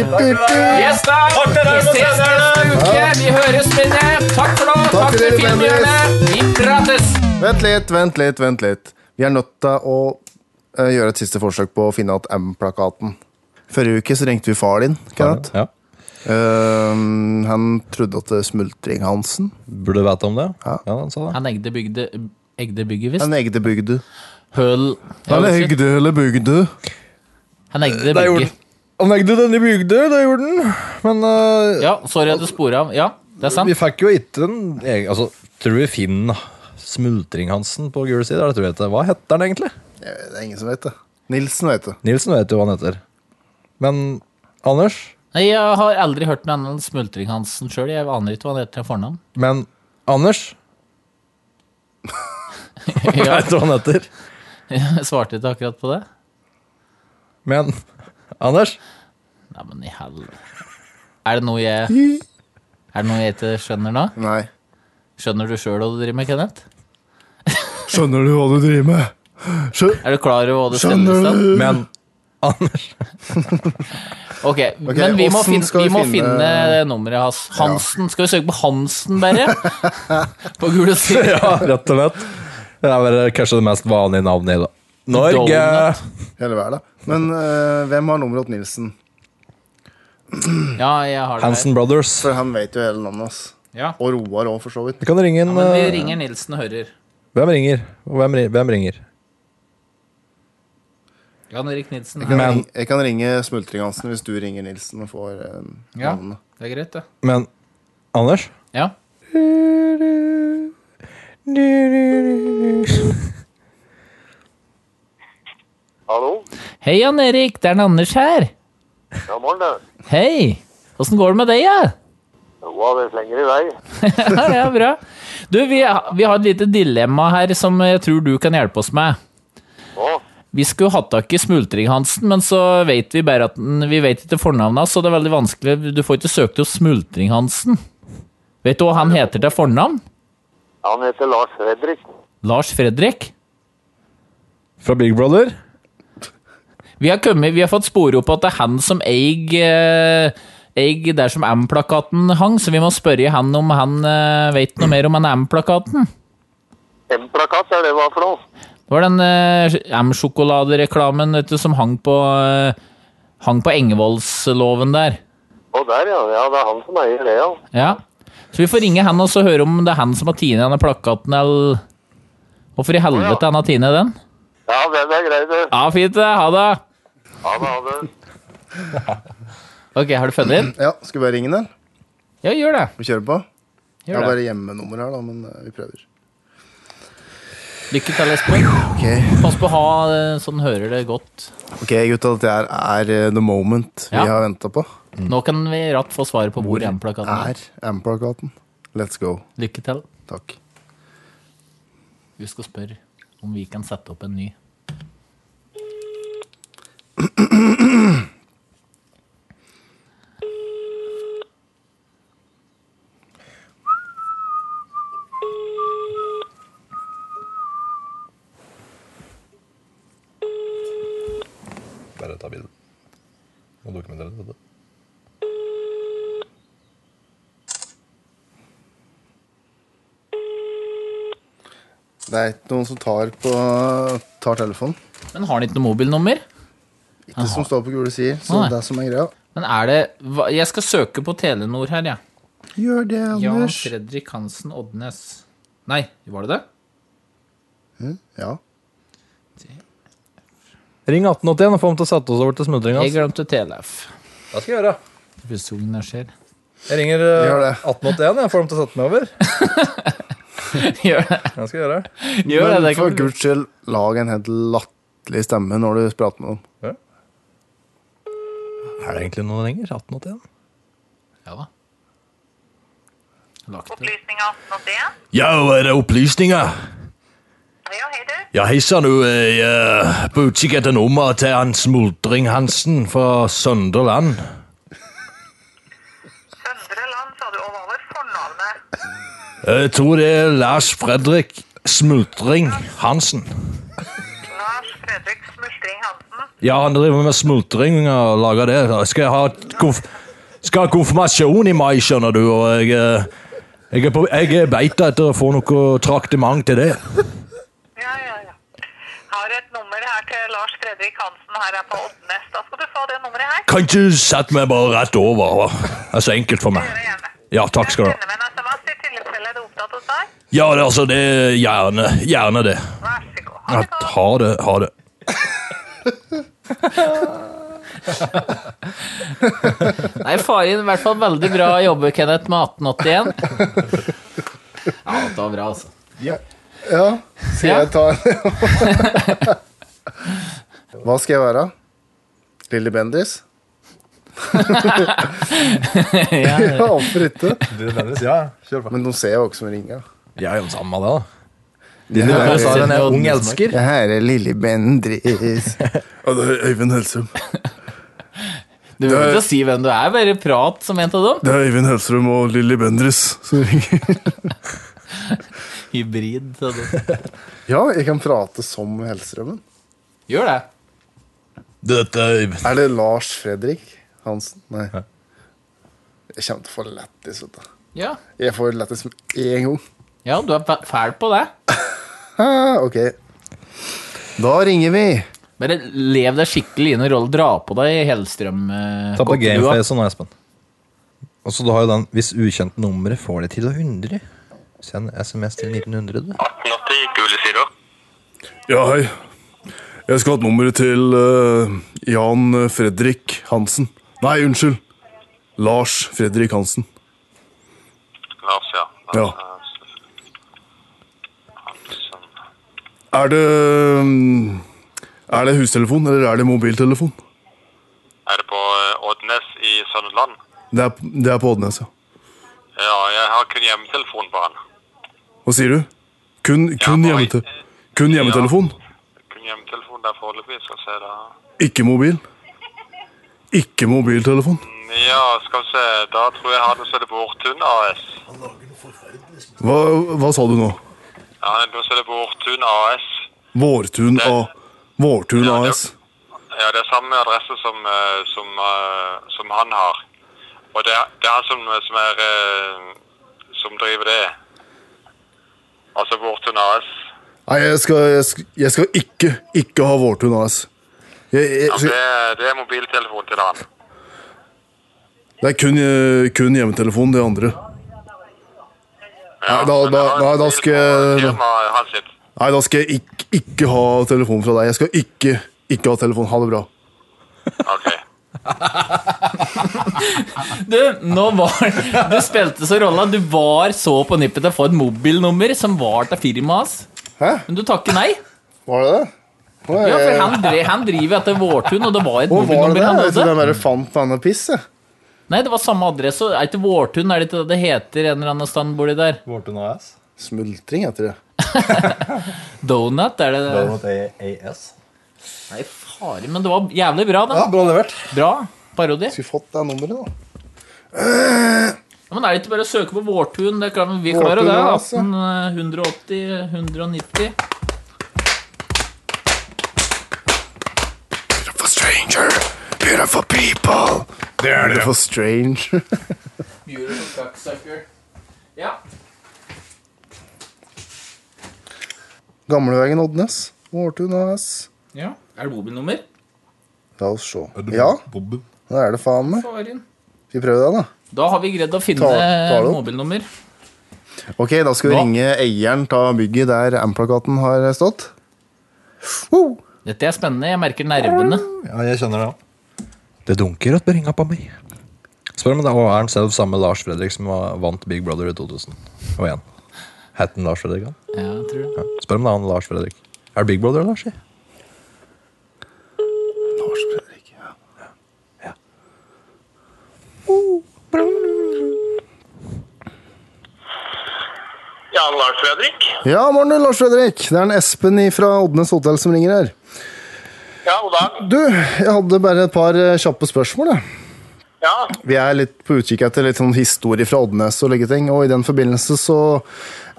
Yes, da! Vi ses neste uke. Vi høres, venner. Takk for nå. Takk
for
til
det,
filmhjørnet. Vi prates.
Vent litt, vent litt, vent litt. Vi er nødt til å eh, gjøre et siste forsøk på å finne igjen M-plakaten. Forrige uke så ringte vi far din. Kenneth.
Ja.
Eh, han trodde at det smultring Hansen.
Burde du vite om det?
Ja.
han sa det.
Han egde bygde Egde bygge, visst.
En egde bygdu.
Høl
Han egde eller bygdu.
Han egde bygge.
Han egde den i bygde, det gjorde den. Men eh,
Ja, sorry at du sporet av. Ja, det er sant.
vi fikk jo ikke den egen- Altså, tror vi Finn Smultring-Hansen på gul side? eller tror jeg ikke. Hva heter han egentlig?
Det er ingen som vet det. Nilsen vet det.
Nilsen vet jo hva han heter. Men Anders
Nei, jeg har aldri hørt noe annet enn Smultring Hansen sjøl. Jeg aner ikke hva han heter til
[LAUGHS]
fornavn.
Men Anders
Ja.
vet du hva han heter.
Jeg svarte ikke akkurat på det.
Men Anders?
Nei, men i hel... Er det noe jeg Er det noe jeg ikke skjønner nå?
Nei.
Skjønner du sjøl hva du driver med, Kenneth?
Skjønner du hva du driver med?
Er du klar over hva det
Skjønner
stemmes av?
du?
Men Anders
Ok,
Ok,
men vi må,
åssen
finne,
skal vi
vi må finne,
finne-
nummeret hans. Hansen. Skal vi søke på Hansen,
[LAUGHS]
bare? på gule sider.
Ja, rett og slett. Det er vel kanskje det mest vanlige navnet i dag. Norge!
Donut.
Hele verden. Men eh, hvem har nummeret til Nilsen?
Ja, jeg har det her.
Hansen Brothers.
For han vet jo hele navnet hans.
Ja.
Og Roar òg, for så vidt.
Vi kan ringe
Ja,
en
men vi
eh,
ringer Nilsen og hører.
Hvem ringer? Og hvem, ri- hvem ringer?
Jan Erik Nilsen.
Jeg kan,
Men-
ringe, jeg kan ringe Smultring-Hansen hvis du ringer Nilsen og får eh,
Ja,
navnet.
det er greit, det.
Men Anders?
Ja.
Hallo?
Hei, Jan Erik. Det er en Anders her.
Ja, morgen, det.
Hei. Åssen går det med deg, Ja?
Roa, det slenger i vei.
Ja, [LAUGHS] ja, bra. Du, vi, vi har et lite dilemma her som jeg tror du kan hjelpe oss med.
Å,
Vi skulle hatt tak i Smultring-Hansen, men så vet vi bare at den- vi vet ikke fornavnet hans, så det er veldig vanskelig. Du får ikke søkt opp Smultring-Hansen. Vet du hva han heter til fornavn?
han heter Lars Fredrik.
Lars Fredrik?
Fra Big Brother?
Vi har, kommet, vi har fått spore opp at det er han som eier eh, eier der som M-plakaten hang, så vi må spørre han om han eh, vet noe mer om den M-plakaten.
M-plakat, er det hva for noe?
Det var den eh, M-sjokoladereklamen vet du, som hang på, eh, hang på Engevoldsloven der.
Å, der, ja. Ja, det er han som eier det, ja.
Ja. Så vi får ringe han og så høre om det er han som har tinet denne plakaten, eller Hvorfor i helvete han har tinet den?
Ja, den er grei, du.
Ja, fint, det. Ha det.
Ha det, ha det.
[LAUGHS] Ok, har du funnet inn?
Ja, skal vi bare ringe den?
Ja, gjør det.
Vi kjører på? Jeg
Gjør
har
det.
bare hjemmenummer her, da, men eh, vi prøver.
Lykke til, Espen.
Ok,
Pass på å ha eh, sånn hører det godt.
ok, gutta, dette her er eh, the moment
Ja.
vi har venta på.
Nå kan vi ratt få svaret på hvor M-plakaten er.
Er M-plakaten. Let's go.
Lykke til.
Takk.
Vi skal spørre om vi kan sette opp en ny.
Bare ta bildet. Må dokumentere dette.
Det er ikke noen som tar, på, tar telefonen.
Men har han ikke noe mobilnummer?
Ikke som står på gule sider. Så
Nei.
det er som er greia.
Men er det hva- Jeg skal søke på Telenor her, jeg.
Gjør det,
Ja. Jan
Anders.
Fredrik Hansen Odnes. Nei, var det det?
Ja.
Ring 1881 og få ham til å sette oss over til smultringa.
Jeg glemte Telef.
Hva skal jeg gjøre?
Første gangen det skjer.
Jeg ringer eh,
Gjør det.
1881 jeg får dem til å sette meg over.
[LAUGHS] Gjør det.
Hva skal jeg gjøre?
Gjør det,
Men
det
for
kan du.
guds skyld, lag en helt latterlig stemme når du prater med dem.
Er det egentlig noen ringer? 1881?
Ja da. Lagt det.
Opplysning 1881.
Ja, er det opplysninger?
Ja, hei du.
Ja, hei sann, du er eh, på utkikk etter nummeret til han Smultring-Hansen fra Sønderland.
Søndre land, sa du. Og hva var fornavnet?
Jeg tror det er Lars Fredrik Smultring-Hansen.
Lars Fredrik Smultring Hansen.
Ja, han driver med smultring og lager det. Jeg Skal jeg ha, et konf skal ha konfirmasjon i mai, skjønner du, og jeg, eh, jeg er på jeg er beita etter å få noe traktement til det.
Ja, ja, ja. Har et nummer her til Lars Fredrik Hansen. Her er på Oddnes. Da skal du få det nummeret her.
Kan ikke du sette meg bare rett over? va? Det er så enkelt for meg.
Gjør det gjerne.
Ja, takk skal du
Jeg
ha.
sender meg en SMS i altså, tilfelle du er opptatt hos deg.
Ja, det, er altså, det er gjerne, gjerne det.
Vær så god. Ha
Ja,
det godt.
ha det. Ha det.
Nei, Farin, i hvert fall veldig bra jobbe, Kenneth, med 1881. Ja, det var bra, altså.
Ja, skal
Ja.
jeg ta en? [LAUGHS] Hva skal jeg være? Lilly Bendriss?
Ja,
[LAUGHS] Ja, hvorfor ikke?
Du, Dennis, ja. Kjør på.
Men de ser jo ikke som ringer.
Jeg er jo sammen med deg, da. Din
Det her
røde sa den er ung
Odnesmark.
elsker.
Det her er Lilly
[LAUGHS]
Bendriss. Og det er Øyvind Hellstrøm.
Du
Det
behøver
er-
ikke å si hvem du er, bare prat som en av dem.
Det er Øyvind Hellstrøm og Lilly Bendriss som ringer.
Hybrid. sa du.
Ja, jeg kan prate som Hellstrømmen.
Gjør det.
Er det Lars Fredrik Hansen? Nei. Jeg kommer til å få lættis, vet du.
Ja.
Jeg får lættis med en gang.
ja, du er fæ- fæl på det.
Ah, ok. Da ringer vi.
Bare lev deg skikkelig inn i rollen. Dra på deg Hellstrøm. eh,
Ta på
godt du, da.
gameface nå, Espen. Og så du har jo den 'hvis ukjente nummeret får det til å undre'. Send SMS til 1900, du.
Ja, hei. Jeg skal ha et nummeret til eh, Jan Fredrik Hansen. Nei, unnskyld. Lars Fredrik Hansen.
Lars, ja.
Ja. Er det mm, Er det hustelefon, eller er det mobiltelefon?
Er det på eh, Oddnes i Sønderland?
Det er, det er på Oddnes, ja.
Ja, jeg har kun hjemmetelefon på han.
Hva sier du? Kun, kun, hjemmete kun hjemmetelefon?
Kun hjemmetelefon der foreløpig, skal vi se da.
Ikke mobil? Ikke mobiltelefon?
Ja, skal vi se, da tror jeg han er Søde Bortun AS.
Hva, hva sa du nå?
Ja, han er Søde Bortun AS.
Vårtun, A, Vårtun AS?
Ja, det er samme adresse som, eh, som, eh, som han har. Og det er, det er han som, som er, eh, som driver det. Altså Bortun AS.
Nei, jeg skal, jeg skal, jeg skal ikke, ikke ha Vårtun AS. Jeg, jeg,
Ja,
skal,
det, er- det er mobiltelefon til han.
det er kun, eh, kun hjemmetelefon, det andre. Nei, da, da, nei, da skal jeg
Firmaet hans sitt.
Nei, da skal jeg ikke, ikke ha telefon fra deg. Jeg skal ikke, ikke ha telefon. Ha det bra.
Du, nå var Du spilte så rolla. Du var så på nippet til å få et mobilnummer som var til firmaet hans. Men du takker nei.
Var det det? Hva er-
Ja, for han, dre, han driver etter Vårtun, og det var et
Hvor var det
mobilnummer
det?
han
Jeg trodde jeg
hadde.
bare fant på annet piss, jeg.
Nei, det var samme adresse. Er det ikke Vårtun? Er det ikke det det heter en eller annen stand borti der?
Vårtun AS?
Smultring heter det.
Donut, er det
AS.
Nei, fare, men det var jævlig bra, da.
bra levert.
Bra parodi.
Skulle fått det nummeret, da.
Ja, men er det ikke bare å søke på Vårtun? Det kan vi
Vårtun
klare, det.
AS, ja.
18, eh, 180, 190
Beautiful stranger, beautiful people. Det er det. Beautiful stranger.
Beautiful cocksucker. Ja.
[LAUGHS] Gamleveien Oddnes. Vårtun AS.
ja. Er det mobilnummer?
La oss se. Ja, det er det faen meg.
Farin.
Vi prøver det, da.
Da har vi greid å finne
tar det opp.
mobilnummer.
Ok, da skal vi
Hva?
ringe eieren av bygget der M-plakaten har stått. Wow.
Dette er spennende. Jeg merker nervene.
Ja, jeg kjenner det òg. Det dunker at ringa på meg. Spør om det er han selv samme Lars Fredrik som var- vant Big Brother i 2001. Het han Lars Fredrik, han?
Ja, jeg tror det.
Ja. Spør om det er han Lars Fredrik. Er det Big Brother, Lars? i?
Lars Fredrik, ja.
Ja, Lars Fredrik.
Ja, morgen, du, Lars Fredrik. Det er en Espen fra Oddnes hotell som ringer her.
Ja, god dag.
Du, jeg hadde bare et par eh, kjappe spørsmål. Jeg.
Ja,
Vi er litt på utkikk etter litt sånn historie fra Oddnes og like ting, og i den forbindelse så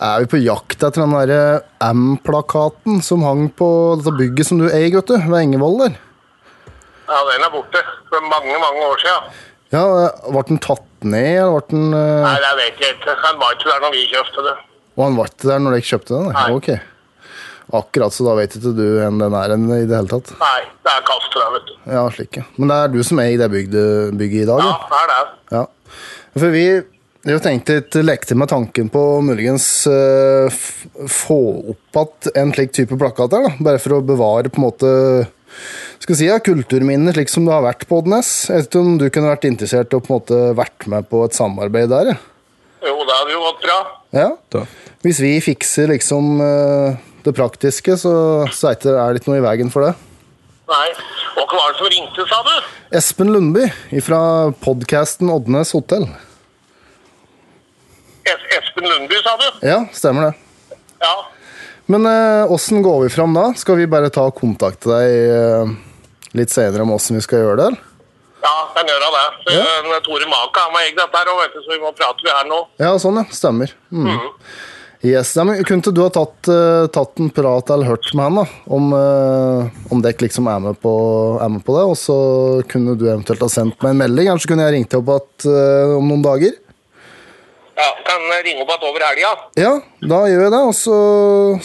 er vi på jakt etter den derre M-plakaten som hang på dette bygget som du eier, vet du, ved Engevold der.
ja den er borte. For mange, mange år siden.
Ja, eh, Ble den tatt ned, eller ble den eh,
Nei, det vet jeg ikke. Han var ikke der når vi kjøpte det.
Og han var ikke der når dere kjøpte den? Nei. Ok. Akkurat, så da vet ikke du hvem den er en, i det hele tatt.
Nei, det er kastet der, vet du.
Ja, slik, ja. Men det er du som er i det bygget, bygget i dag?
Ja,
Ja.
det er det.
ja. For vi jeg tenkte litt, lekte med tanken på å muligens eh, f få opp igjen en slik type plakat der, da. Bare for å bevare på en måte skal vi si, ja, kulturminner slik som det har vært på Oddnes. Jeg vet ikke om du kunne vært interessert og på en måte vært med på et samarbeid der? Ja.
Jo, det hadde jo gått bra.
Ja. Hvis vi fikser liksom eh, det praktiske, så, så er det er det ikke noe i veien for det.
Nei. Og hva var det som ringte, sa du?
Espen Lundby fra podkasten Oddnes Hotell.
Es Espen Lundby, sa du?
Ja, stemmer det.
Ja.
Men eh, åssen går vi fram da? Skal vi bare ta og kontakte deg eh, litt senere om åssen vi skal gjøre det? eller?
Ja, den gjør han det. Så, eh, Tore Maka han var egg dette her, og vet du, så vi må prate vi her nå.
Ja, sånn ja. Stemmer. Mm. Yes, nei, men Kunne ikke du ha tatt, eh, tatt en prat eller hørt med han da, om, eh, om dere liksom er med, på, er med på det? Og så kunne du eventuelt ha sendt meg en melding, eller så kunne jeg ringt deg opp at, eh, om noen dager?
Ja, Kan eh, ringe opp igjen over helga.
Ja, da gjør jeg det, og så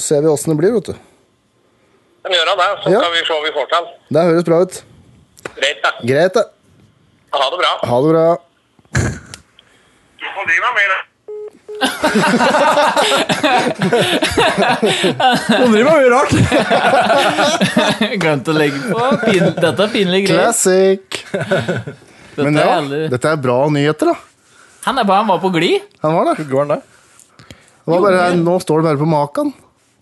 ser vi åssen det blir, vet du.
Den gjør han det, så
Ja.
skal vi se hva vi får til.
Det høres bra ut.
Greit, da.
Greit, det.
Ha det bra.
Ha det bra.
Du får drive med det.
Hun driver med mye rart. [LAUGHS] Glemte å legge på. Pin, dette er pinlige greier.
Classic! Men
Dette er
ja,
aldri-
dette er bra nyheter, da.
Han, er bare, han var på glid.
Han var det. Det var bare, nå står det bare på makan.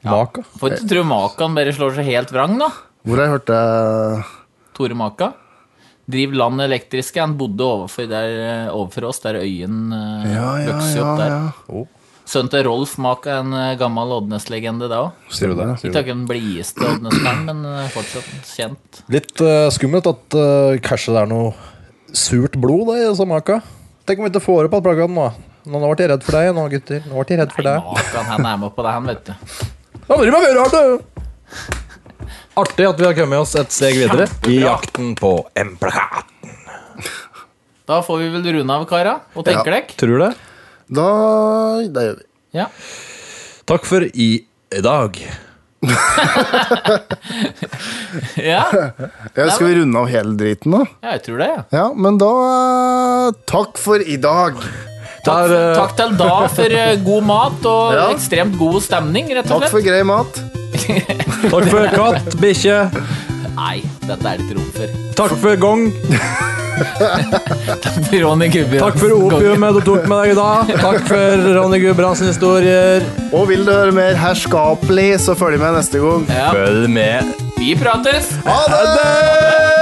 Maka.
Får ikke tro Makan bare slår seg helt vrang, da.
Hvor har jeg hørt det?
Tore Maka. Driv land elektriske. Han bodde overfor, der, eh, overfor oss, der øyen eh, vokser opp der.
Oh.
Sønnen til Rolf Maka, en eh, gammel Oddnes-legende da òg.
Sier du det? Sier du
Ikke den blideste Oddnes-mannen, men eh, fortsatt kjent.
Litt eh, skummelt at eh, kanskje det er noe surt blod da, i Samaka. Tenk om vi ikke får opp all plaggaten nå. Nå nå ble jeg redd for deg nå, gutter. Nå ble jeg redd for deg.
Makan, han er med på det, han, vet du.
Han driver med mye rart, du! Artig at vi har kommet oss et steg videre i jakten på en plakat.
Da får vi vel runde av, kara. Hva tenker dere?
Tror du det?
Da Det gjør vi.
Ja.
Takk for i dag.
Ja.
Ja, skal vi runde av hele driten, da?
Ja, jeg tror det. ja.
Ja, men da eh, Takk for i dag.
Takk, takk til da for eh, god mat og
Ja.
ekstremt god stemning, rett og
Takk for
slett.
grei mat.
Takk for katt, bikkje.
Nei, dette er det ikke rom for. [LAUGHS]
Takk for gong.
Takk for Ronny Gubbe.
Takk for opiumet du tok med deg i dag. Takk for Ronny Gudbrandsen historier.
Og vil du høre mer herskapelig, så følg med neste gang.
Ja,
Følg med.
vi prates!
Ha det!